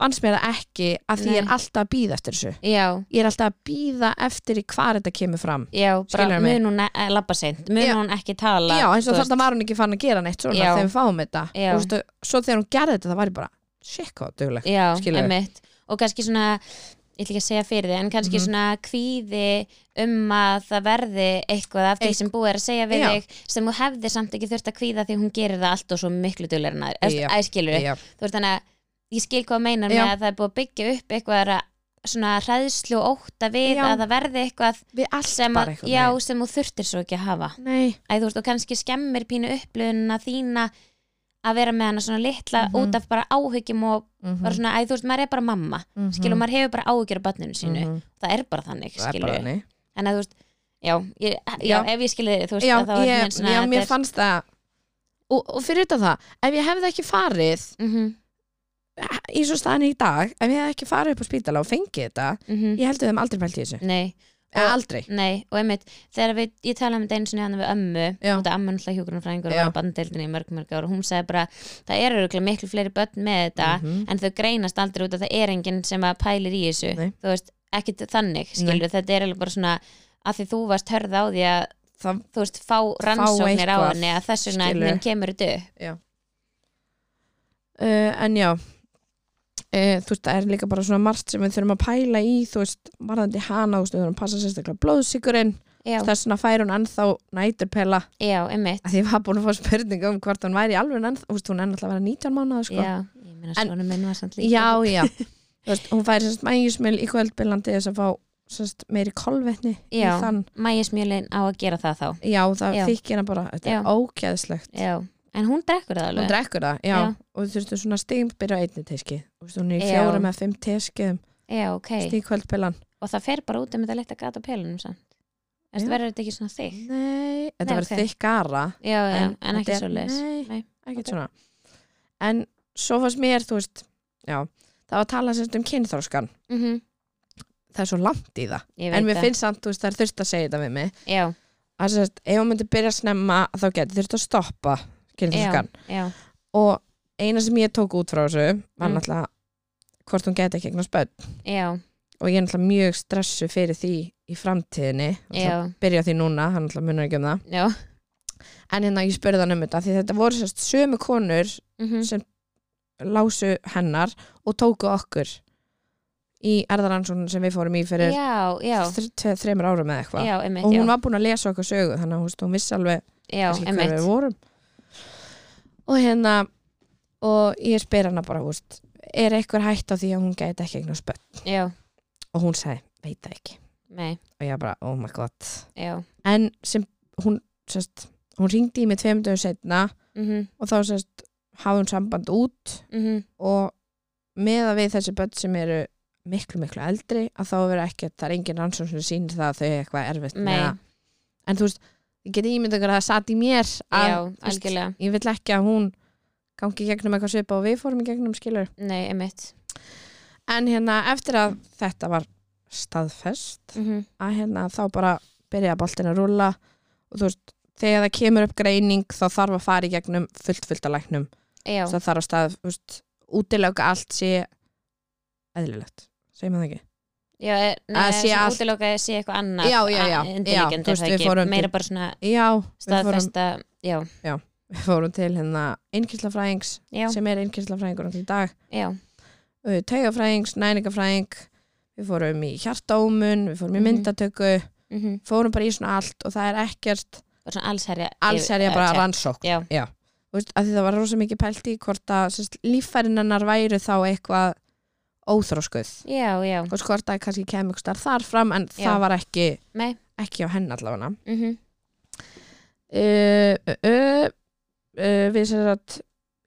Speaker 1: fannst mér það ekki að því ég er
Speaker 2: Nei.
Speaker 1: alltaf að býða eftir þessu
Speaker 2: já
Speaker 1: ég er alltaf að býða eftir í hvar þetta kemur fram
Speaker 2: já, bara
Speaker 1: Skilurðu mig?
Speaker 2: mun hún e- labba seint mun
Speaker 1: Já.
Speaker 2: hún ekki tala
Speaker 1: já, eins
Speaker 2: þú
Speaker 1: og
Speaker 2: veist.
Speaker 1: þarna var hún ekki fann að gera neitt svona
Speaker 2: Já.
Speaker 1: þegar við fáum þetta
Speaker 2: Já.
Speaker 1: og þú veist, svo þegar hún gerði þetta það var ég bara, shit hvað dugleg
Speaker 2: já,
Speaker 1: Skilurðu?
Speaker 2: einmitt og kannski svona ég ætla ekki að segja fyrir þið, en kannski
Speaker 1: Mhm.
Speaker 2: svona kvíði um að það verði eitthvað af því
Speaker 1: Eitth-
Speaker 2: sem búið er að segja við
Speaker 1: Já.
Speaker 2: þig sem þú hefði samt ekki þurft að kvíða því hún gerir það allt og svo miklu duglegur en
Speaker 1: Já.
Speaker 2: aður æskilur,
Speaker 1: já,
Speaker 2: þú veist þannig að ég skil hvað þú meinar
Speaker 1: Já.
Speaker 2: með að það er búið að byggja upp eitthvað ra- svona hræðslu og ótta við
Speaker 1: Já.
Speaker 2: að það verði eitthvað
Speaker 1: við allt
Speaker 2: sem,
Speaker 1: bara
Speaker 2: að,
Speaker 1: eitthvað
Speaker 2: já, sem þú þurftir svo ekki að hafa
Speaker 1: nei,
Speaker 2: Æ, þú veist, og kannski skemmir pínu upplöðuna þína að vera með hana svona litla
Speaker 1: Mhm.
Speaker 2: út af bara áhyggjum og
Speaker 1: mm
Speaker 2: bara svona, æ, þú veist, maður er bara mamma
Speaker 1: -hmm.
Speaker 2: skilur, maður hefur bara áhugjur á barninu sínu mhm, það er bara þannig,
Speaker 1: Mm-hmm. það er
Speaker 2: skilur
Speaker 1: bara nei
Speaker 2: en að þú veist, já, ég, já,
Speaker 1: Já.
Speaker 2: ef ég skilur þið, þú veist,
Speaker 1: já,
Speaker 2: að hérna það var
Speaker 1: ég, já, mér fannst það og, og fyrir þetta það, ef ég hefði ekki farið
Speaker 2: mm -hmm,
Speaker 1: í svo staðan í dag, ef ég hefði ekki farið upp á spítala og fengið þetta, ég held að við hefum aldrei pælt í þessu
Speaker 2: mhm. nei,
Speaker 1: eða aldrei
Speaker 2: Nei, og einmitt, þegar við, ég talaði um þetta einu sinni hann við ömmu,
Speaker 1: Já.
Speaker 2: og þetta amma náttúrulega hjúgrunarfræðingur og
Speaker 1: Já.
Speaker 2: var á bandeldinni í mörg mörg ára og hún sagði bara, það eru örugglega miklu fleiri börn með þetta,
Speaker 1: Mhm.
Speaker 2: en þau greinast aldrei út að það er enginn sem að pælir í þessu
Speaker 1: Nei.
Speaker 2: þú veist, ekkit þannig, skilur þetta er alveg bara svona, að því þú varst hörð á því að,
Speaker 1: það,
Speaker 2: þú veist, fá rannsóknir á
Speaker 1: eitthvað,
Speaker 2: henni að þess vegna
Speaker 1: skilurðu.
Speaker 2: einhvern veginn kemur þetta upp
Speaker 1: uh, en já uh, þú veist, það er líka bara svona margt sem við þurfum að pæla í, þú veist, varðandi hana þú veist, við þurfum að passa sérstaklega blóðsikurinn
Speaker 2: Já,
Speaker 1: þess vegna fær hún ennþá næturpela
Speaker 2: já, einmitt
Speaker 1: að því ég var búin að fá spurningu um hvort hún væri alveg ennþá, þú veist, hún er náttúrulega að vera 19 mánuð sko.
Speaker 2: Já, ég meina
Speaker 1: En-
Speaker 2: svona minn var samt líka
Speaker 1: já, já. Þú veist, hún fær sérst mægismil í kvöldbylandi þess að fá sérst meiri kolvetni í
Speaker 2: Já.
Speaker 1: þann
Speaker 2: Mægismjölin á að gera það þá
Speaker 1: já, það
Speaker 2: Já.
Speaker 1: þykir hana bara, þetta
Speaker 2: Já.
Speaker 1: er ógæðslegt
Speaker 2: Já, en hún drekkur það alveg
Speaker 1: hún drekkur það, já,
Speaker 2: Já.
Speaker 1: og þú þurftu svona stigum byrja á einni teski, þú veist, hún er í
Speaker 2: Já.
Speaker 1: fjórum eða fimm teskiðum,
Speaker 2: Já, ok
Speaker 1: stig kvöldbylan
Speaker 2: og það fer bara út um þetta litla gata á pelunum samt en það
Speaker 1: Já.
Speaker 2: verður þetta ekki svona þig
Speaker 1: nei, þetta
Speaker 2: Nei,
Speaker 1: verður
Speaker 2: ok.
Speaker 1: okay. þykkara
Speaker 2: já, já, en, ekki
Speaker 1: þetta
Speaker 2: svo
Speaker 1: er-
Speaker 2: leis
Speaker 1: nei,
Speaker 2: Nei,
Speaker 1: ekkert
Speaker 2: ok.
Speaker 1: svona en svo fannst mér, þú veist já, það var að tala sérst um kynþróskan það er svo langt í það,
Speaker 2: Mhm, ég
Speaker 1: en
Speaker 2: veit
Speaker 1: mér finnst samt, þú veist, það er þurft að segja þetta við mig
Speaker 2: það já,
Speaker 1: að sérst, ef hún myndi byrja snemma þá getur þurft að stoppa
Speaker 2: já,
Speaker 1: kynþróskan
Speaker 2: já,
Speaker 1: og eina sem ég tók út frá þessu var
Speaker 2: Mm.
Speaker 1: náttúrulega hvort hún geti ekki eignast börn
Speaker 2: já,
Speaker 1: og ég er náttúrulega mjög stressu fyrir því í framtíðinni
Speaker 2: já,
Speaker 1: Náttúrulega byrja á því núna, hann náttúrulega munar ekki um það
Speaker 2: já.
Speaker 1: en hérna ég spurði hann um þetta því þetta voru sérst sömu konur
Speaker 2: mhm,
Speaker 1: sem lásu hennar og tóku okkur í erðaransókn sem við fórum í fyrir
Speaker 2: já, já,
Speaker 1: þr- tve- þremur árum eða eitthvað
Speaker 2: já, einmitt,
Speaker 1: og
Speaker 2: já,
Speaker 1: hún var búin að lesa okkur sögu þannig að þú veist, hún vissi alveg
Speaker 2: já,
Speaker 1: kannski hver
Speaker 2: einmitt
Speaker 1: við vorum og hérna og ég spyr hana bara, þú veist er eitthvað hætt á því að hún gæti ekki eignast börn
Speaker 2: já,
Speaker 1: og hún sagði, veit það ekki
Speaker 2: nei,
Speaker 1: og ég bara, oh my god
Speaker 2: já,
Speaker 1: en sem hún sest, hún ringdi í mig tveim dögum setna
Speaker 2: mhm,
Speaker 1: og þá sest, hafði hún samband út
Speaker 2: mhm
Speaker 1: og meða við þessi börn sem eru miklu miklu eldri að þá vera ekkert, það er engin rannsókn sem sýnir það að þau er eitthvað erfitt með
Speaker 2: nei,
Speaker 1: það. en þú veist, ég geti ímynd okkur að það satt í mér að
Speaker 2: já,
Speaker 1: þú veist,
Speaker 2: algjörlega
Speaker 1: ég vill ekki að hún gangi í gegnum eitthvað svipa og við fórum í gegnum skilur
Speaker 2: nei, einmitt
Speaker 1: en hérna eftir að þetta var staðfest
Speaker 2: mhm,
Speaker 1: að hérna þá bara byrja boltin að rúlla og þú veist, þegar það kemur upp greining þá þarf að fara í gegnum fullt fullt að læknum,
Speaker 2: já,
Speaker 1: það þarf að stað þú veist, útilega allt sé eðlilegt, segir maður það ekki
Speaker 2: já, er-
Speaker 1: að
Speaker 2: nei,
Speaker 1: sé
Speaker 2: svona
Speaker 1: allt-
Speaker 2: útilokað sé eitthvað annað
Speaker 1: Já, já, já,
Speaker 2: a-
Speaker 1: já,
Speaker 2: undirliggjandi,
Speaker 1: þú veist,
Speaker 2: er það
Speaker 1: við
Speaker 2: ekki?
Speaker 1: fórum
Speaker 2: meira
Speaker 1: til-
Speaker 2: bara svona
Speaker 1: já, við fórum,
Speaker 2: staðfesta, já,
Speaker 1: við fórum til hérna einnkyslafræðings
Speaker 2: já,
Speaker 1: sem er einnkyslafræðingur í dag
Speaker 2: já
Speaker 1: taugafræðings, næningafræðing við fórum í hjartaómun við fórum í
Speaker 2: Mhm.
Speaker 1: myndatöku,
Speaker 2: mhm
Speaker 1: fórum bara í svona allt og það er ekkert,
Speaker 2: bara svona allsherja eh,
Speaker 1: alls er ég bara rannsókn
Speaker 2: já,
Speaker 1: Þú veist, að því það var rosa mikið pælt í hvort að sérst, líffærinarnar væru þá eitthvað óþróskuð
Speaker 2: já, já,
Speaker 1: og hvort að kannski kemur ykkur starf þar fram en
Speaker 2: Já.
Speaker 1: það var ekki,
Speaker 2: nei
Speaker 1: ekki á henn allavega uh,
Speaker 2: mm
Speaker 1: uh, uh, uh, við sér að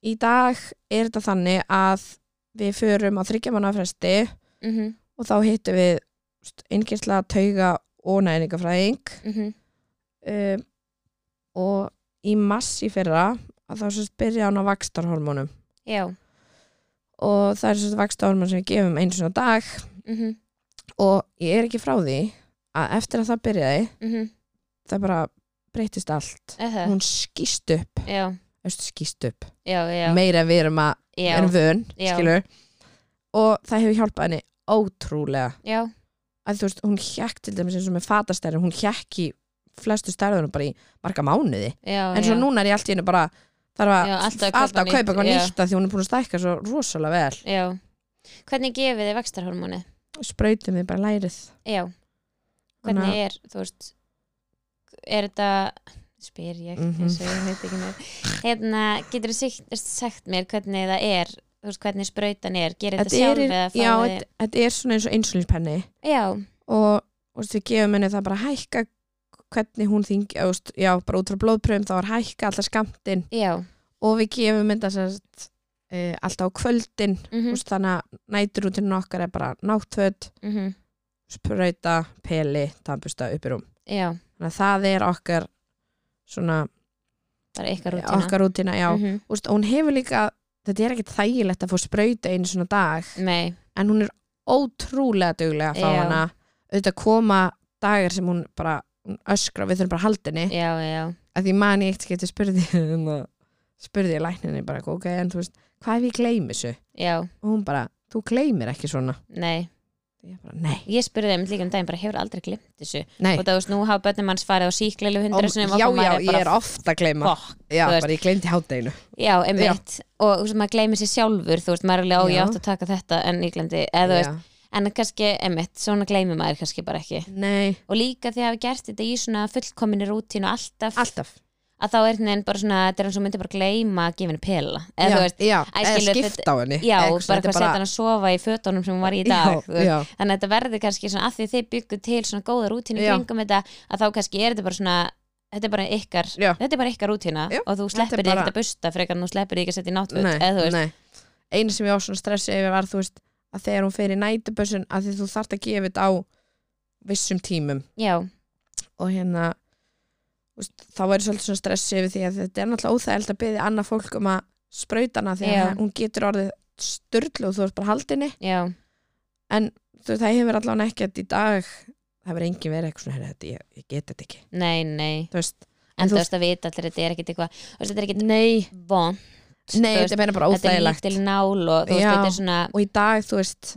Speaker 1: í dag er þetta þannig að við förum á þryggjamanna fresti
Speaker 2: -hmm,
Speaker 1: og þá hittum við einnkisla, tauga og næringafræðing
Speaker 2: mm -hmm,
Speaker 1: uh, og í mass í fyrra að þá sérst byrja hann á vakstarhormónum
Speaker 2: já
Speaker 1: og það er svona vakstahormón sem við gefum einu svona dag
Speaker 2: mm -hmm,
Speaker 1: og ég er ekki frá því að eftir að það byrjaði
Speaker 2: mm -hmm,
Speaker 1: það bara breytist allt
Speaker 2: eða,
Speaker 1: hún skýst upp,
Speaker 2: já,
Speaker 1: eftir skýst upp
Speaker 2: já, já
Speaker 1: meira en við erum að
Speaker 2: já,
Speaker 1: erum vön,
Speaker 2: Já.
Speaker 1: skilur og það hefur hjálpað henni ótrúlega
Speaker 2: já,
Speaker 1: að þú veist, hún hjekk til dæmis eins og með fatastæri hún hjekk í flestu stærðunum bara í marga mánuði,
Speaker 2: já
Speaker 1: en svo
Speaker 2: já.
Speaker 1: núna er ég allt í henni bara þarf að
Speaker 2: Já, alltaf að kaupa
Speaker 1: alltaf að
Speaker 2: nýtt,
Speaker 1: kaupa eitthvað
Speaker 2: já.
Speaker 1: nýtt að því hún er búin að stækka svo rosalega vel
Speaker 2: já, hvernig gefið þið vakstarhormóni
Speaker 1: sprautum við bara lærið
Speaker 2: já, hvernig er þú veist, er þetta spyr ég,
Speaker 1: Mhm.
Speaker 2: eins og ég veit ekki með hérna, getur þið sagt mér hvernig það er, þú veist, hvernig sprautan er gerir þetta
Speaker 1: Þetta er,
Speaker 2: sjálf eða
Speaker 1: já,
Speaker 2: fáið þið-
Speaker 1: þetta- þetta er svona eins og insulinspenni
Speaker 2: já,
Speaker 1: og þú veist, við gefum henni það bara að hækka hvernig hún þingi, eða, þú veist, já, bara út frá blóðpröfum þá er hækka alltaf skamtinn
Speaker 2: já
Speaker 1: og við gefum henni það e, alltaf á kvöldin mm.
Speaker 2: mhm,
Speaker 1: veist, þannig að næturútinn okkar er bara náttföld,
Speaker 2: mhm,
Speaker 1: sprauta, peli, tannbusta upp í rúm.
Speaker 2: já,
Speaker 1: Þannig að það er okkar svona,
Speaker 2: bara ykkar rútina
Speaker 1: okkar rútina, já. Mm.
Speaker 2: Mhm,
Speaker 1: Veist, og hún hefur líka, þetta er ekkert þægilegt að fá sprauta einu svona dag
Speaker 2: nei,
Speaker 1: en hún er ótrúlega duglega að fá
Speaker 2: Mhm. Já.
Speaker 1: hana auðvitað koma dagar sem hún bara hún öskra, við þurfum bara að halda henni
Speaker 2: já, já,
Speaker 1: að því man ég eitt geti spurði hérna, spurði ég lækninni bara ok, en þú veist, hvað ef ég gleymi þessu
Speaker 2: já,
Speaker 1: og hún bara, þú gleymir ekki svona
Speaker 2: nei
Speaker 1: ég bara, nei,
Speaker 2: ég spurði þeim líka um daginn, bara hefur aldrei glimt þessu
Speaker 1: nei
Speaker 2: og það veist, nú hafa bönnum hans farið á síkleilu
Speaker 1: Ó,
Speaker 2: hundra
Speaker 1: já,
Speaker 2: sinum
Speaker 1: já, ég er oft að gleyma
Speaker 2: fokk
Speaker 1: já,
Speaker 2: þú veist.
Speaker 1: bara ég gleymdi hátdeinu
Speaker 2: Já, einmitt, og þú veist, maður gleymir sér sjálfur þú veist, maður er alveg á, ég
Speaker 1: Já.
Speaker 2: átt að taka þetta en ég glemdi, eða þú veist, en kannski einmitt, svona gleymir maður kannski bara ekki
Speaker 1: nei,
Speaker 2: og líka því að hafa gert þetta í svona fullkominni rútín og alltaf,
Speaker 1: alltaf
Speaker 2: að þá er þetta bara svona, þetta er eins og myndi bara gleyma að gefa henni pela, eða
Speaker 1: já,
Speaker 2: þú veist
Speaker 1: já,
Speaker 2: æ,
Speaker 1: eða
Speaker 2: skilur,
Speaker 1: skipta á henni
Speaker 2: Já,
Speaker 1: eða
Speaker 2: bara
Speaker 1: eitthvað,
Speaker 2: eitthvað
Speaker 1: þetta er
Speaker 2: setja hann að sofa í fötunum sem hún var í í dag þú
Speaker 1: já,
Speaker 2: veist.
Speaker 1: já,
Speaker 2: þannig að þetta verður kannski svona að því þið byggu til svona góða rútínu
Speaker 1: Já.
Speaker 2: kringum þetta að þá kannski er þetta bara svona þetta er bara ykkar,
Speaker 1: Já.
Speaker 2: þetta er bara ykkar rútína
Speaker 1: Já,
Speaker 2: og þú
Speaker 1: þetta er
Speaker 2: sleppir því
Speaker 1: bara-
Speaker 2: ekkert að busta frekar en þú sleppir því ekki að setja í náttföt eða þú
Speaker 1: nei,
Speaker 2: veist,
Speaker 1: nei einu sem ég á svona stressi yfir var þú veist að þegar hún fer í nætubössun að því þú þarft að gefa þetta á vissum tímum
Speaker 2: já,
Speaker 1: og hérna þú veist, þá er ég svolítið svona stressi yfir því að þetta er náttúrulega óþægild að byggja annað fólk um að sprauta hana því að
Speaker 2: Já.
Speaker 1: hún getur orðið styrlu og þú ert bara haldinni
Speaker 2: já,
Speaker 1: þú veist það hefur allavega ekkert í dag það hefur engin verið eitthvað svona "Heyrðu, þetta, ég, ég get þetta ekki
Speaker 2: nei, nei
Speaker 1: þú veist En
Speaker 2: en
Speaker 1: þú-
Speaker 2: þú veist að vita allir þetta er ekkert eitthvað þú veist, þetta er ekkert
Speaker 1: nei,
Speaker 2: von
Speaker 1: nei
Speaker 2: veist,
Speaker 1: þetta er meina bara
Speaker 2: þetta er
Speaker 1: óþægilegt
Speaker 2: lítil nál og þú veist,
Speaker 1: Já.
Speaker 2: þetta er svona
Speaker 1: og í dag þú veist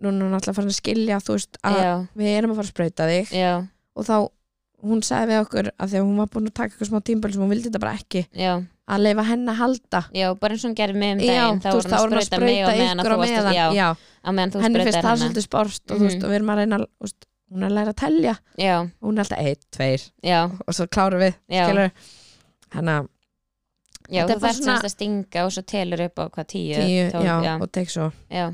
Speaker 1: núna er hún alltaf farin að skilja þú veist að
Speaker 2: já,
Speaker 1: við erum að fara að sprauta þig
Speaker 2: já,
Speaker 1: og þá hún sagði við okkur að því að hún var búin að taka eitthvað smá tímböl sem hún vildi þetta bara ekki
Speaker 2: já,
Speaker 1: að leifa henn að halda
Speaker 2: já bara eins og hún gerir mig um
Speaker 1: já,
Speaker 2: daginn þá
Speaker 1: þú
Speaker 2: voru hann
Speaker 1: veist, þá er hún
Speaker 2: að
Speaker 1: að
Speaker 2: sprauta mig á
Speaker 1: sprauta
Speaker 2: meðan að
Speaker 1: ykkur á
Speaker 2: þú varst
Speaker 1: meðan
Speaker 2: já,
Speaker 1: já,
Speaker 2: á meðan þú
Speaker 1: henni finnst
Speaker 2: sprautar hana
Speaker 1: það svolítið sport og, þú veist,
Speaker 2: Mhm.
Speaker 1: og við erum að reyna að- þú veist, hún er að læra að telja
Speaker 2: já,
Speaker 1: og hún er alltaf eitt, tveir
Speaker 2: já,
Speaker 1: og svo klárum við
Speaker 2: já
Speaker 1: hann að
Speaker 2: Já,
Speaker 1: Þetta
Speaker 2: þú
Speaker 1: er bara
Speaker 2: verður
Speaker 1: svona-
Speaker 2: svona að stinga og svo telur upp á hvað tíu,
Speaker 1: tíu
Speaker 2: tólf,
Speaker 1: já,
Speaker 2: já,
Speaker 1: og tek svo
Speaker 2: já,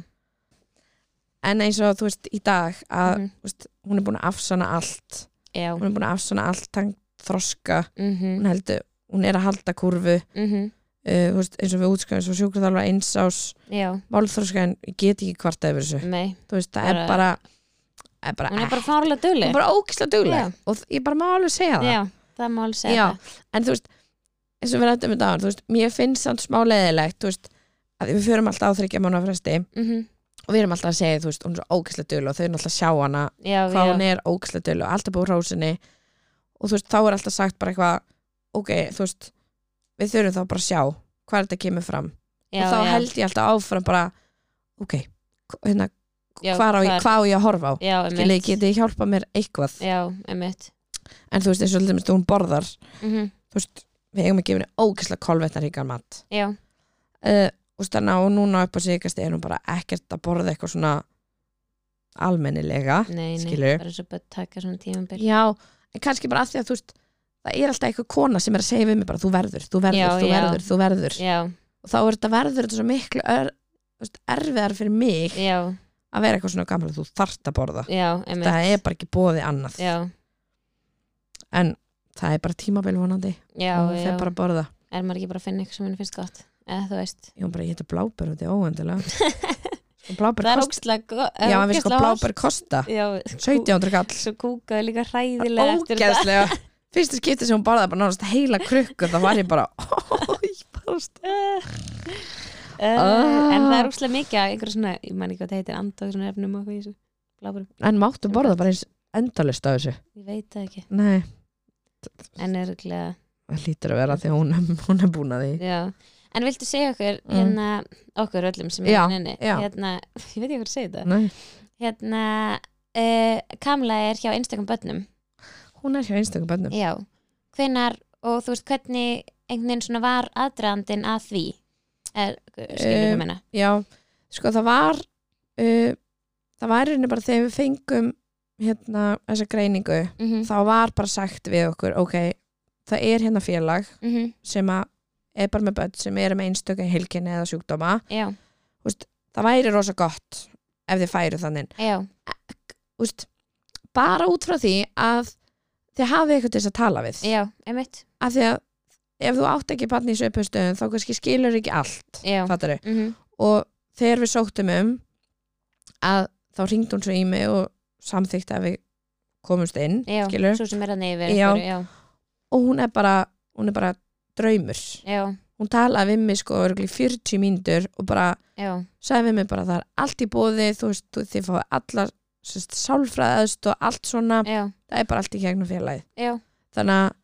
Speaker 1: en eins og þú veist í dag að
Speaker 2: Mhm.
Speaker 1: þú veist, hún er búin að afsana allt
Speaker 2: já,
Speaker 1: hún er búin að afsana allt hann þroska,
Speaker 2: mhm,
Speaker 1: hún heldur hún er að halda kurfu
Speaker 2: mhm,
Speaker 1: uh, þú veist, eins og við útskjöfum svo sjúkraþalva eins ás
Speaker 2: já,
Speaker 1: málþróska en ég get ekki kvarta yfir þessu
Speaker 2: mei,
Speaker 1: þú veist, það er
Speaker 2: Mm. Bara-
Speaker 1: bara er bara,
Speaker 2: hún er bara
Speaker 1: eh,
Speaker 2: fárlega
Speaker 1: hún er
Speaker 2: duðleg,
Speaker 1: bara ógislega dugleg
Speaker 2: Já.
Speaker 1: og þ- ég bara má alveg segja það
Speaker 2: já, það má alveg segja
Speaker 1: Já,
Speaker 2: það,
Speaker 1: en þú veist, eins og við rættum þetta áður, þú veist, mér finnst þannig smá leðilegt þú veist, að við förum alltaf á þryggja mánu fresti
Speaker 2: mhm,
Speaker 1: og við erum alltaf að segja, þú veist, hún er svo ógislega dugleg og þau erum alltaf að sjá hana
Speaker 2: já,
Speaker 1: hvað
Speaker 2: já,
Speaker 1: hún er ógislega dugleg og alltaf búið hrósinni og þú veist, þá er alltaf sagt bara eitthvað ok, þú veist, við þurfum þá bara að sjá hvað þetta kemur fram
Speaker 2: já,
Speaker 1: og þá
Speaker 2: já,
Speaker 1: held ég alltaf áfram bara ok, hv- hérna
Speaker 2: Já,
Speaker 1: hvað á, ég-
Speaker 2: hvar-
Speaker 1: hvað á ég að horfa á
Speaker 2: já,
Speaker 1: Skilji,
Speaker 2: einmitt,
Speaker 1: getið þið hjálpað mér eitthvað
Speaker 2: já, einmitt,
Speaker 1: en þú veist eins og til dæmis þegar hún borðar
Speaker 2: mhm,
Speaker 1: þú veist, við eigum að gefa henni ógæslega kolvetnaríkan mat
Speaker 2: já,
Speaker 1: uh, og stanna og núna upp á síkast er hún bara ekkert að borða eitthvað svona almennilega
Speaker 2: nei, nei,
Speaker 1: Skilurðu?
Speaker 2: bara eins og bara taka svona tímambil,
Speaker 1: já, en kannski bara að því að þú veist það er alltaf eitthvað kona sem er að segja við mig bara þú verður, þú verður,
Speaker 2: Já,
Speaker 1: þú
Speaker 2: já.
Speaker 1: verður, þú verður
Speaker 2: já,
Speaker 1: og þá er þetta verður þetta svo miklu er, þú veist, erfiðar fyrir mig
Speaker 2: já,
Speaker 1: að vera eitthvað svona gamla, þú þarft að borða
Speaker 2: já, einmitt,
Speaker 1: það er bara ekki bóði annað
Speaker 2: já,
Speaker 1: en það er bara tímabil vonandi
Speaker 2: já,
Speaker 1: og það
Speaker 2: já,
Speaker 1: er bara að borða
Speaker 2: er maður ekki bara að finna eitthvað sem henni finnst gott, eða þú veist,
Speaker 1: Ég hún bara, ég heiti blábær og þetta er óendilega Sko blábær
Speaker 2: það er
Speaker 1: kosta
Speaker 2: ógstlega gott,
Speaker 1: Já, en við sko
Speaker 2: ógeðslega hollt.
Speaker 1: blábær kosta
Speaker 2: Já,
Speaker 1: 1700 kall
Speaker 2: svo kúkaði líka hræðilega eftir það
Speaker 1: Ógeðslega Fyrsta skipti sem hún borðaði bara nánast heila krukku þá var ég bara "Oh." Ég bara st-
Speaker 2: uh, en
Speaker 1: Ah.
Speaker 2: það er úrslega mikið að einhverja svona, ég man ekki hvað það heitir andók svona efnum og hvað í þessu bláburum,
Speaker 1: En máttu borða bara eins endalist af þessu
Speaker 2: ég veit það ekki
Speaker 1: Nei,
Speaker 2: en örgulega,
Speaker 1: það lítur að vera því að hún, hún er búin að því
Speaker 2: já en viltu segja okkur,
Speaker 1: Mm.
Speaker 2: hérna okkur öllum sem
Speaker 1: Já,
Speaker 2: er henni,
Speaker 1: já.
Speaker 2: hérna ég veit ekki hvað að segja þetta,
Speaker 1: Nei,
Speaker 2: hérna uh, Kamla er hjá einstakum börnum
Speaker 1: hún er hjá einstakum bönnum
Speaker 2: já, hvenar og þú veist hvernig einhvern veginn svona var aðdraðandinn að því er, skilur
Speaker 1: Um,
Speaker 2: þú meina
Speaker 1: Já, sko það var uh, Það var í rauninni bara þegar við fengum hérna þessa greiningu
Speaker 2: mm -hmm,
Speaker 1: þá var bara sagt við okkur ok, það er hérna félag
Speaker 2: mm
Speaker 1: sem að er bara með börn sem eru með einstökum hilkinni eða sjúkdóma
Speaker 2: já,
Speaker 1: það væri rosa gott ef þið færu þannig
Speaker 2: já,
Speaker 1: Úst, bara út frá því að þið hafið eitthvað til þess að tala við
Speaker 2: já, einmitt
Speaker 1: af því að ef þú átt ekki barn í söpustöðum þá kannski skilur ekki allt
Speaker 2: já,
Speaker 1: fattari.
Speaker 2: mm
Speaker 1: og þegar við sóttum um að þá ringd hún svo í mig og samþykti að við komumst inn
Speaker 2: já,
Speaker 1: skilur,
Speaker 2: svo sem er að neyfi
Speaker 1: Já.
Speaker 2: já. Já,
Speaker 1: og hún er bara, hún er bara draumur
Speaker 2: já,
Speaker 1: hún talaði við mig sko örugglega í 40 mínútur og bara
Speaker 2: já,
Speaker 1: sagði við mig bara það er allt í bóði þú veist, þú, þið fáið allar sérst, sálfræðast og allt svona
Speaker 2: já,
Speaker 1: það er bara allt í gegnum félagið
Speaker 2: já
Speaker 1: þannig að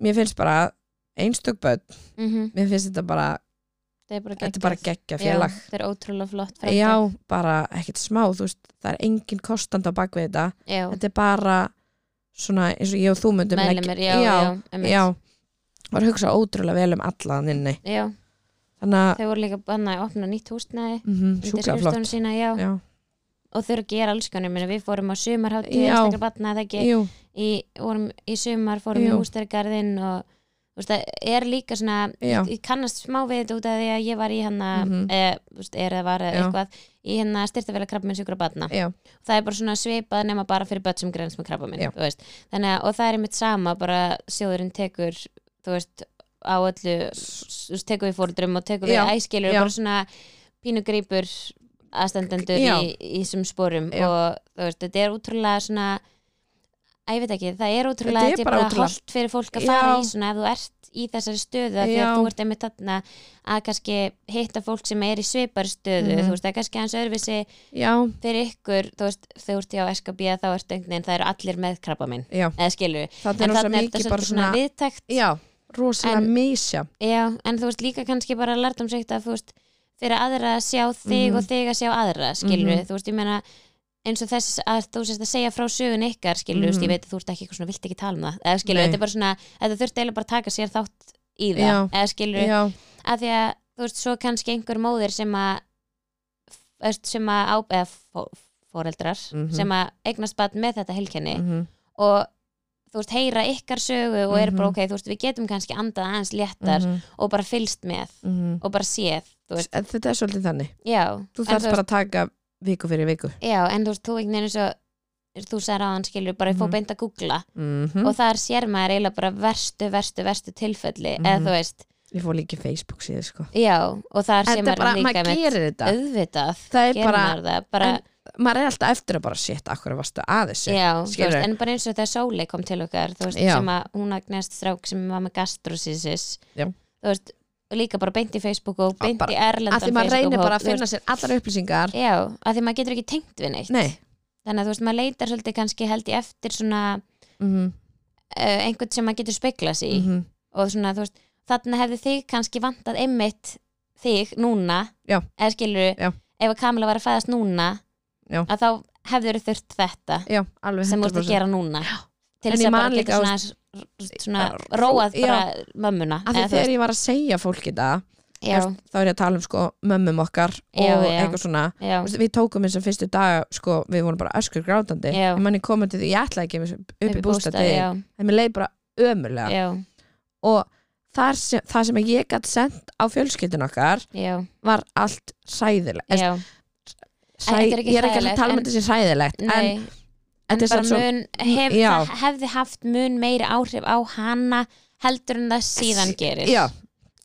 Speaker 1: mér finnst bara einstök börn,
Speaker 2: mm
Speaker 1: mér finnst þetta bara
Speaker 2: það er bara geggjað
Speaker 1: þetta er bara geggja félag
Speaker 2: já, það er ótrúlega flott
Speaker 1: já,
Speaker 2: framtak.
Speaker 1: bara ekkert smá þú veist, það er engin kostand á bakvið þetta
Speaker 2: já,
Speaker 1: þetta er bara svona eins og ég og þú myndum
Speaker 2: meðlumir, já,
Speaker 1: já,
Speaker 2: já,
Speaker 1: já,
Speaker 2: einmitt.
Speaker 1: já var að hugsa ótrúlega vel um alla hann inni
Speaker 2: já.
Speaker 1: þannig að
Speaker 2: þau voru líka banna að opna nýtt húsnæði
Speaker 1: mm sjúklega flott
Speaker 2: sína, já.
Speaker 1: já,
Speaker 2: og þau eru að gera alls konar minna, við fórum á sumarháttið
Speaker 1: Já.
Speaker 2: einstakar batna það ekki
Speaker 1: jú,
Speaker 2: í, vorum, í sumar fórum
Speaker 1: Jú.
Speaker 2: í hústargarðinn og þú veist, það er líka svona
Speaker 1: Já.
Speaker 2: ég kannast smá við þetta út af því að ég var í hann
Speaker 1: Mhm.
Speaker 2: mm veist, er eða var eða
Speaker 1: Já.
Speaker 2: eitthvað í hérna hann að styrtafélag krabbaminn sjúkra batna
Speaker 1: já,
Speaker 2: það er bara svona svipað nema bara fyrir börn sem grænst með krabbaminn
Speaker 1: Já.
Speaker 2: þú veist. þannig að og það er einmitt sama bara sjóðurinn tekur þú veist á öllu þú veist, tekur við fóruldrum og tekur
Speaker 1: Já.
Speaker 2: við æskilur
Speaker 1: Já.
Speaker 2: bara svona pínu grýpur aðstandendur
Speaker 1: Já.
Speaker 2: í, í þessum sporum
Speaker 1: Já.
Speaker 2: og þú veist, þetta er útrúlega svona Æ, ég veit ekki, það er útrúlega,
Speaker 1: Þetta er
Speaker 2: þetta er
Speaker 1: bara
Speaker 2: bara
Speaker 1: ótrúlega.
Speaker 2: holdt fyrir fólk að
Speaker 1: Já.
Speaker 2: fara í svona ef þú ert í þessari stöðu af því
Speaker 1: Já.
Speaker 2: að þú ert einmitt þarna að kannski hitta fólk sem er í svipar stöðu
Speaker 1: Mhm.
Speaker 2: þú veist, það er kannski hans öðruvísi
Speaker 1: já,
Speaker 2: fyrir ykkur, þú veist, þau ert hjá SKB þá ertu einhvern veginn, það eru allir með krabba minn
Speaker 1: já
Speaker 2: eða skilur við,
Speaker 1: það er
Speaker 2: en
Speaker 1: rosa
Speaker 2: þarna er þetta
Speaker 1: mikið bara
Speaker 2: svolítið
Speaker 1: svona
Speaker 2: svona viðtækt
Speaker 1: já, rosalega
Speaker 2: En-
Speaker 1: misja
Speaker 2: Já, en þú veist líka kannski bara lært um segt að þú veist fyrir aðra að sjá þig
Speaker 1: Mhm.
Speaker 2: og þig að sjá aðra skilur
Speaker 1: Mhm.
Speaker 2: þú veist, ég meina eins og þess að þú sérst að segja frá sögun ykkar skilur, mm
Speaker 1: Mhm.
Speaker 2: veist, ég veit að þú ert ekki eitthvað svona vilt ekki tala um það, eða skilur,
Speaker 1: Nei.
Speaker 2: þetta er bara svona þetta þurfti eiginlega bara að taka sér þátt í það
Speaker 1: Já.
Speaker 2: eða skilur,
Speaker 1: já,
Speaker 2: að því að þú veist, svo kannski einhver móðir sem að þú veist, sem að á, eða fó- fóreldrar
Speaker 1: Mhm.
Speaker 2: sem að eignast batn með þetta helkenni
Speaker 1: mhm,
Speaker 2: og þú veist, heyra ykkar sögu og er bara
Speaker 1: Mhm.
Speaker 2: ok, þú veist, við getum kannski andað aðeins léttar
Speaker 1: mhm,
Speaker 2: og bara fylst með
Speaker 1: mhm.
Speaker 2: og bara séð þú veist,
Speaker 1: En þetta er svolítið þannig
Speaker 2: já,
Speaker 1: þú
Speaker 2: en,
Speaker 1: þarf bara að taka viku fyrir viku
Speaker 2: já, en þú veist, þú einhvern veginn eins og þú sagði ráðan skilur, bara ég fór
Speaker 1: Mhm.
Speaker 2: beint að googla
Speaker 1: Mhm.
Speaker 2: og þar sér maður eiginlega bara verstu, verstu, verstu tilfelli,
Speaker 1: Mhm.
Speaker 2: eða þú veist
Speaker 1: ég fór líka í Facebook síðu sko
Speaker 2: já, og þar sér
Speaker 1: þetta er
Speaker 2: maður
Speaker 1: bara,
Speaker 2: líka
Speaker 1: maður
Speaker 2: með
Speaker 1: gerir þetta
Speaker 2: auðvitað,
Speaker 1: það er
Speaker 2: gerir
Speaker 1: bara,
Speaker 2: maður það bara,
Speaker 1: en- maður er alltaf eftir að bara shit, akkur varstu að þessu
Speaker 2: já, þú
Speaker 1: skilur.
Speaker 2: veist, en bara eins og þegar Sóley kom til okkar, þú veist,
Speaker 1: Já.
Speaker 2: sem að hún agnast strák sem var með gastrosísis
Speaker 1: Já.
Speaker 2: þú veist, og líka bara beint í Facebook og beint
Speaker 1: bara-
Speaker 2: í
Speaker 1: að
Speaker 2: Erlendan
Speaker 1: því maður reynir
Speaker 2: Facebook-hóp,
Speaker 1: bara að
Speaker 2: þú veist,
Speaker 1: finna sér allar upplýsingar
Speaker 2: já, að því maður getur ekki tengt við neitt
Speaker 1: nei
Speaker 2: þannig að þú veist, maður leitar svolítið kannski held ég eftir svona
Speaker 1: mhm,
Speaker 2: uh, einhvern sem maður getur speklað sig í
Speaker 1: mhm,
Speaker 2: og svona, þú veist, þarna hefði þig kannski vantað einmitt þig núna
Speaker 1: Já.
Speaker 2: eða skilur,
Speaker 1: Já.
Speaker 2: ef að Kamila var að fæðast núna
Speaker 1: Já.
Speaker 2: að þá hefður þurft þetta
Speaker 1: já, alveg
Speaker 2: sem þú ert að
Speaker 1: 100%
Speaker 2: gera núna já. til
Speaker 1: En
Speaker 2: þess
Speaker 1: ég
Speaker 2: að
Speaker 1: man
Speaker 2: bara
Speaker 1: líka,
Speaker 2: geta svona, svona, svona
Speaker 1: Já,
Speaker 2: róað
Speaker 1: já.
Speaker 2: bara mömmuna
Speaker 1: að því
Speaker 2: eða þú
Speaker 1: þegar ég var að segja fólki þetta
Speaker 2: veist, já,
Speaker 1: eftir- þá er ég að tala um sko mömmum okkar og
Speaker 2: Já, já.
Speaker 1: eitthvað svona
Speaker 2: já,
Speaker 1: Þú veist, við tókum eins og fyrstu dag sko, við vorum bara öskur grátandi
Speaker 2: Já.
Speaker 1: ég manni komið til því, ég ætlaði ekki upp í
Speaker 2: upp í
Speaker 1: bústa
Speaker 2: bústað, já,
Speaker 1: en mér leið bara ömulega
Speaker 2: já,
Speaker 1: og þar sem, það sem ég gætt sendt á fjölskyldun okkar
Speaker 2: já,
Speaker 1: var allt sæðilegt
Speaker 2: já
Speaker 1: sæ,
Speaker 2: þetta er ekki
Speaker 1: ég er ekki að
Speaker 2: hræðilegt,
Speaker 1: tala um
Speaker 2: en-
Speaker 1: þetta sem sæðilegt en
Speaker 2: nei,
Speaker 1: þetta er
Speaker 2: bara
Speaker 1: samt svo
Speaker 2: mun, hef,
Speaker 1: Já.
Speaker 2: það hefði haft mun meiri áhrif á hana heldur en það síðan gerir
Speaker 1: já,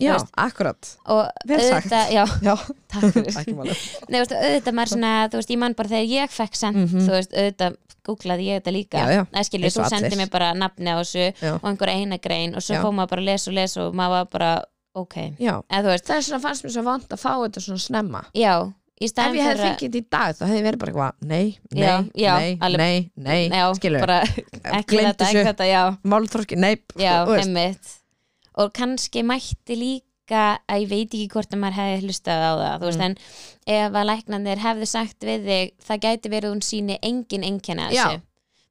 Speaker 1: já,
Speaker 2: veist.
Speaker 1: akkurat
Speaker 2: og
Speaker 1: Vel sagt.
Speaker 2: auðvitað, já,
Speaker 1: já,
Speaker 2: takk fyrir
Speaker 1: ekki máli
Speaker 2: Nei, veist, auðvitað maður svona, þú veist, ég man bara þegar ég fekk sent,
Speaker 1: Mhm.
Speaker 2: þú veist, auðvitað googlaði ég þetta líka,
Speaker 1: Já, já.
Speaker 2: Nei, skilur,
Speaker 1: Eins og
Speaker 2: þú sendi
Speaker 1: allir.
Speaker 2: mér bara nafni á þessu
Speaker 1: Já.
Speaker 2: og einhverja eina grein og svo
Speaker 1: Já.
Speaker 2: fór maður bara að lesa og lesa og maður var bara, ok
Speaker 1: já.
Speaker 2: eða þú veist,
Speaker 1: það er svona fannst mér svo vond að fá þetta svona snemma
Speaker 2: já, í
Speaker 1: ef
Speaker 2: staðin
Speaker 1: ég hefði fengið þetta í dag þá hefði ég verið bara eitthvað nei, nei,
Speaker 2: Já, já,
Speaker 1: nei,
Speaker 2: alveg.
Speaker 1: nei, nei,
Speaker 2: já,
Speaker 1: skilur
Speaker 2: bara, ekki
Speaker 1: gleymdu
Speaker 2: þetta, ekki
Speaker 1: þessu.
Speaker 2: þetta, já
Speaker 1: málþorki, nei
Speaker 2: já,
Speaker 1: þú veist.
Speaker 2: emmitt og kannski mætti líka að ég veit ekki hvort að maður hefði hlustað á það þú veist,
Speaker 1: Mm.
Speaker 2: en ef að læknandir hefði sagt við þig, það gæti verið að hún síni engin einkenni að
Speaker 1: Já.
Speaker 2: þessu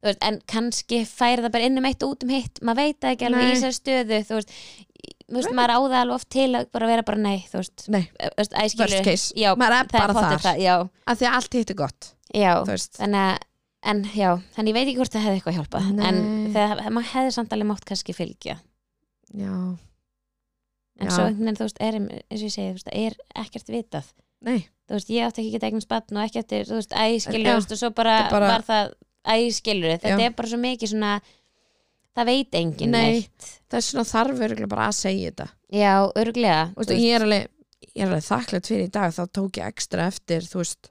Speaker 2: Þú veist, en kannski færi það bara inn um eitt og út um hitt maður veit það ekki alveg
Speaker 1: Nei.
Speaker 2: í þessar stöðu þú veist, þú veist maður áða alveg oft til að bara vera bara nei, þú veist,
Speaker 1: nei,
Speaker 2: Ö, þú veist, æ, skilur,
Speaker 1: worst case,
Speaker 2: já,
Speaker 1: maður er
Speaker 2: það er
Speaker 1: bara
Speaker 2: pottur
Speaker 1: þar
Speaker 2: það, já,
Speaker 1: af því að allt hitt er gott
Speaker 2: já
Speaker 1: þú veist,
Speaker 2: þannig að En já, þannig ég veit ekki hvort það hefði eitthvað hjálpað en
Speaker 1: Nei.
Speaker 2: það, maður hefði samt alveg mátt kannski fylgja
Speaker 1: já,
Speaker 2: en
Speaker 1: Já.
Speaker 2: svo einhvern veginn, þú veist, er, eins og ég segi, þú veist, það er ekkert vitað
Speaker 1: nei
Speaker 2: þú veist, ég átti ekki að geta eignast batn og ekki eftir, þú veist, æskilur,
Speaker 1: Já.
Speaker 2: þú veist, og svo bara,
Speaker 1: Þetta er bara-
Speaker 2: var það æskilur, þetta
Speaker 1: Já.
Speaker 2: er bara svo mikið svona það veit enginn
Speaker 1: Nei.
Speaker 2: neitt
Speaker 1: þess vegna þarf örgulega bara að segja þetta
Speaker 2: já, örglega
Speaker 1: Þú veist, og ég er alveg, ég er alveg þakklætt fyrir í dag þá tók ég ekstra eftir, þú veist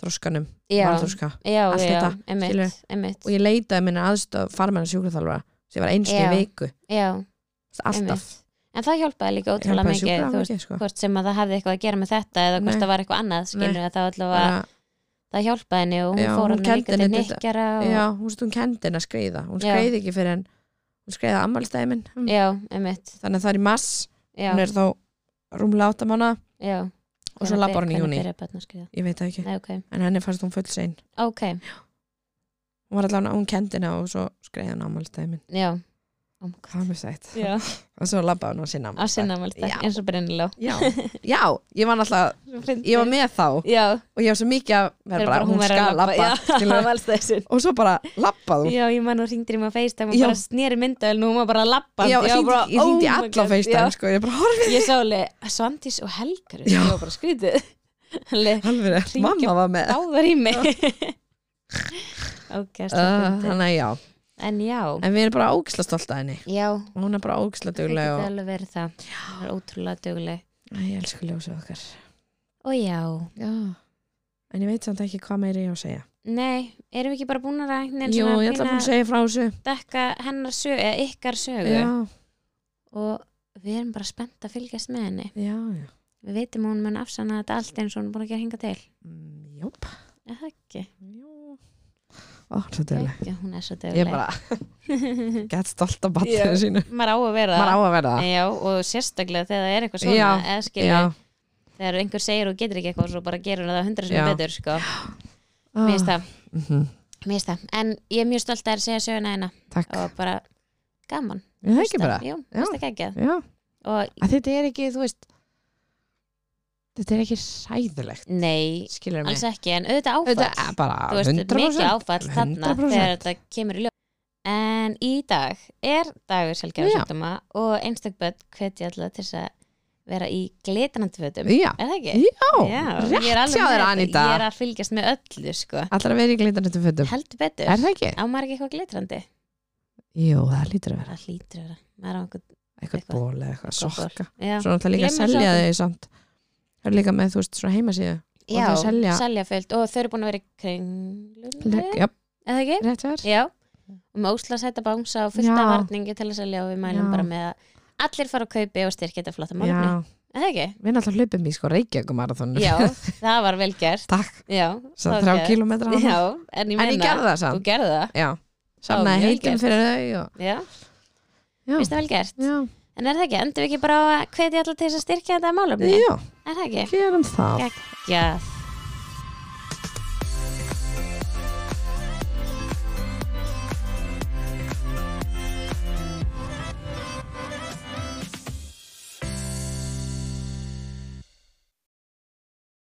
Speaker 1: þróskanum,
Speaker 2: já,
Speaker 1: málþróska
Speaker 2: já,
Speaker 1: allt
Speaker 2: já,
Speaker 1: þetta, skilurðu.
Speaker 2: emitt, emitt
Speaker 1: og ég leitaði minna aðstöð farmenn sjúkraþjálfara sem ég var einstu
Speaker 2: Já.
Speaker 1: í viku,
Speaker 2: já,
Speaker 1: Þú veist, alltaf
Speaker 2: emitt en það hjálpaði líka ótrúlega
Speaker 1: Hjálpaði
Speaker 2: mikið, þú veist,
Speaker 1: sjúkraþjálfara mikið, sko.
Speaker 2: hvort sem að það hafði eitthvað að gera með þetta eða hvort
Speaker 1: Nei.
Speaker 2: það var eitthvað annað, skilur, það var allavega
Speaker 1: Bara-
Speaker 2: það hjálpaði henni og hún
Speaker 1: Já,
Speaker 2: fór
Speaker 1: hún
Speaker 2: hann líka
Speaker 1: kenndi
Speaker 2: til
Speaker 1: henni þetta.
Speaker 2: nekkjara og,
Speaker 1: já, hún, veist, hún kendi henni að skreiða hún
Speaker 2: Já.
Speaker 1: skreiði ekki fyrir henn hún skreiði ammálstæði minn þannig
Speaker 2: já, einmitt
Speaker 1: að það er í mass
Speaker 2: já,
Speaker 1: hún er þá rúmlega átta mánu
Speaker 2: já.
Speaker 1: og svo
Speaker 2: Hvenær
Speaker 1: labbar hún í
Speaker 2: ber-
Speaker 1: júní.
Speaker 2: hvenær byrjar barn að skrifa?
Speaker 1: ég veit það ekki,
Speaker 2: Nei, ok,
Speaker 1: en henni fannst hún full sein
Speaker 2: ok,
Speaker 1: hún var allavega, hún kendi henni og svo skreiði henni ammálstæði minn
Speaker 2: já Oh my God.
Speaker 1: hvað með sætt,
Speaker 2: Já,
Speaker 1: og svo labbaði hún á sinna
Speaker 2: á sinna málstæk,
Speaker 1: Já.
Speaker 2: eins og brenniló
Speaker 1: já, já, ég var náttúrulega ég var með þá
Speaker 2: Já,
Speaker 1: og ég var svo mikið að vera bara, hún
Speaker 2: verður að
Speaker 1: skal
Speaker 2: labba,
Speaker 1: labba
Speaker 2: Já, á
Speaker 1: skilurðu.
Speaker 2: málstæðisinn
Speaker 1: og svo bara labbað hún
Speaker 2: Já, ég man og hringdir í mig á FaceTime og
Speaker 1: Já.
Speaker 2: bara sneri myndavel og hún var bara að labba
Speaker 1: Já,
Speaker 2: ég var
Speaker 1: hringdi-
Speaker 2: bara,
Speaker 1: ég hindi
Speaker 2: oh
Speaker 1: oh
Speaker 2: my
Speaker 1: alla
Speaker 2: God,
Speaker 1: feistar sko, ég bara horfið
Speaker 2: já. Ég sá alveg, Svandís og Helgar
Speaker 1: Já.
Speaker 2: Ég var bara skrítið Alveg,
Speaker 1: alveg rétt,
Speaker 2: Hringja-
Speaker 1: mamma var með
Speaker 2: dáðar í mig Ok,
Speaker 1: Uh,
Speaker 2: uh,
Speaker 1: þannig að já,
Speaker 2: En já,
Speaker 1: en við erum bara ógisla stolt að henni
Speaker 2: já
Speaker 1: og hún er bara ógisla
Speaker 2: Það
Speaker 1: dugleg
Speaker 2: getur
Speaker 1: og
Speaker 2: alveg verið það Það er ótrúlega dugleg
Speaker 1: Æ, ég elsku ljósið okkar
Speaker 2: Og já,
Speaker 1: já. en ég veit samt ekki hvað meira ég á að segja
Speaker 2: Nei, erum við ekki bara búin að rækna
Speaker 1: jú, ég ætla að búin að segja frá þessu
Speaker 2: dekka hennar sög, eða ykkar sögu
Speaker 1: já,
Speaker 2: og við erum bara spennt að fylgjast með henni
Speaker 1: já, já
Speaker 2: við veitum að hún mun afsanna þetta allt eins og hún er búin að gera hinga til
Speaker 1: Mm, júp
Speaker 2: er það ekki,
Speaker 1: Jú. ó, svo dugleg
Speaker 2: ekki hún er svo
Speaker 1: ég
Speaker 2: döguleg
Speaker 1: bara get stolt af
Speaker 2: Já.
Speaker 1: batninu sínu
Speaker 2: maður á að vera
Speaker 1: maður á að vera
Speaker 2: það
Speaker 1: það
Speaker 2: Já, og sérstaklega þegar það er eitthvað svona
Speaker 1: Já,
Speaker 2: eða skilur,
Speaker 1: já,
Speaker 2: þegar einhver segir og getur ekki eitthvað svo bara gerur það hundra sem
Speaker 1: Já.
Speaker 2: betur sko. mér finnst
Speaker 1: Ah,
Speaker 2: það,
Speaker 1: mhm,
Speaker 2: mér finnst það en ég er mjög stolt að þér að segja söguna hérna
Speaker 1: takk
Speaker 2: og bara gaman
Speaker 1: Ég það ekki
Speaker 2: Hlusta.
Speaker 1: bara
Speaker 2: Jú, finnst það ekki
Speaker 1: Já,
Speaker 2: og
Speaker 1: að þetta er ekki, þú veist Þetta er ekki sæðilegt
Speaker 2: nei,
Speaker 1: Skilur mig
Speaker 2: alls ekki, en auðvitað áfall
Speaker 1: Þetta er bara
Speaker 2: þú veist,
Speaker 1: 100%
Speaker 2: mikið áfall þarna
Speaker 1: 100%.
Speaker 2: þegar þetta kemur í ljó en í dag er dagur sjálfgefur
Speaker 1: Já.
Speaker 2: sjúkdóma og einstakböld hveti alltaf til þess að vera í glitrandi fötum
Speaker 1: Já,
Speaker 2: er það ekki?
Speaker 1: já,
Speaker 2: ég er
Speaker 1: rétt
Speaker 2: alveg
Speaker 1: hjá þér
Speaker 2: með-
Speaker 1: Anita
Speaker 2: ég er að fylgjast með öllu sko
Speaker 1: Allra verið í glitranettum fötum
Speaker 2: heldur betur,
Speaker 1: Er það ekki?
Speaker 2: á maður ekki eitthvað glitrandi
Speaker 1: Jú, það lítur að vera
Speaker 2: það hlýtur að vera, maður á einhvern
Speaker 1: Eitthvað
Speaker 2: Eitthvað.
Speaker 1: ból eða eitthvað sokka
Speaker 2: já,
Speaker 1: Svo náttúrulega líka að
Speaker 2: Glemma
Speaker 1: selja
Speaker 2: sokkum.
Speaker 1: þau samt Það er líka með, þú veist, svona heimasíðu
Speaker 2: já
Speaker 1: það selja-
Speaker 2: seljaföld og þau eru búin að vera í kringlunni
Speaker 1: Leg- Já,
Speaker 2: er það ekki?
Speaker 1: rétt hjá þér
Speaker 2: Já, og með ósla sæta bánsa og fullta
Speaker 1: Já.
Speaker 2: varningi til að selja og við mælum
Speaker 1: Já.
Speaker 2: bara með að allir fara að kaupi og styrkja þetta flotta
Speaker 1: Já,
Speaker 2: málumni. Er það ekki?
Speaker 1: við náttúrulega hlaupum í sko Reykjavíkumarathonu
Speaker 2: Já, það var vel gert.
Speaker 1: Takk,
Speaker 2: Já,
Speaker 1: svo
Speaker 2: það var
Speaker 1: þrjá
Speaker 2: gert.
Speaker 1: kílómetra
Speaker 2: Já, en ég
Speaker 1: En
Speaker 2: meina,
Speaker 1: ég gerði það
Speaker 2: þú
Speaker 1: samt
Speaker 2: gerði það.
Speaker 1: Já, samnaði
Speaker 2: vel
Speaker 1: heitum
Speaker 2: gert.
Speaker 1: fyrir þau og...
Speaker 2: Já,
Speaker 1: Já,
Speaker 2: finnst það vel gert.
Speaker 1: já,
Speaker 2: En er það ekki? Endur við ekki bara á að hvetja allir til þess að styrkja þetta málumni?
Speaker 1: já,
Speaker 2: Er það ekki?
Speaker 1: gerum það
Speaker 2: Geggjað.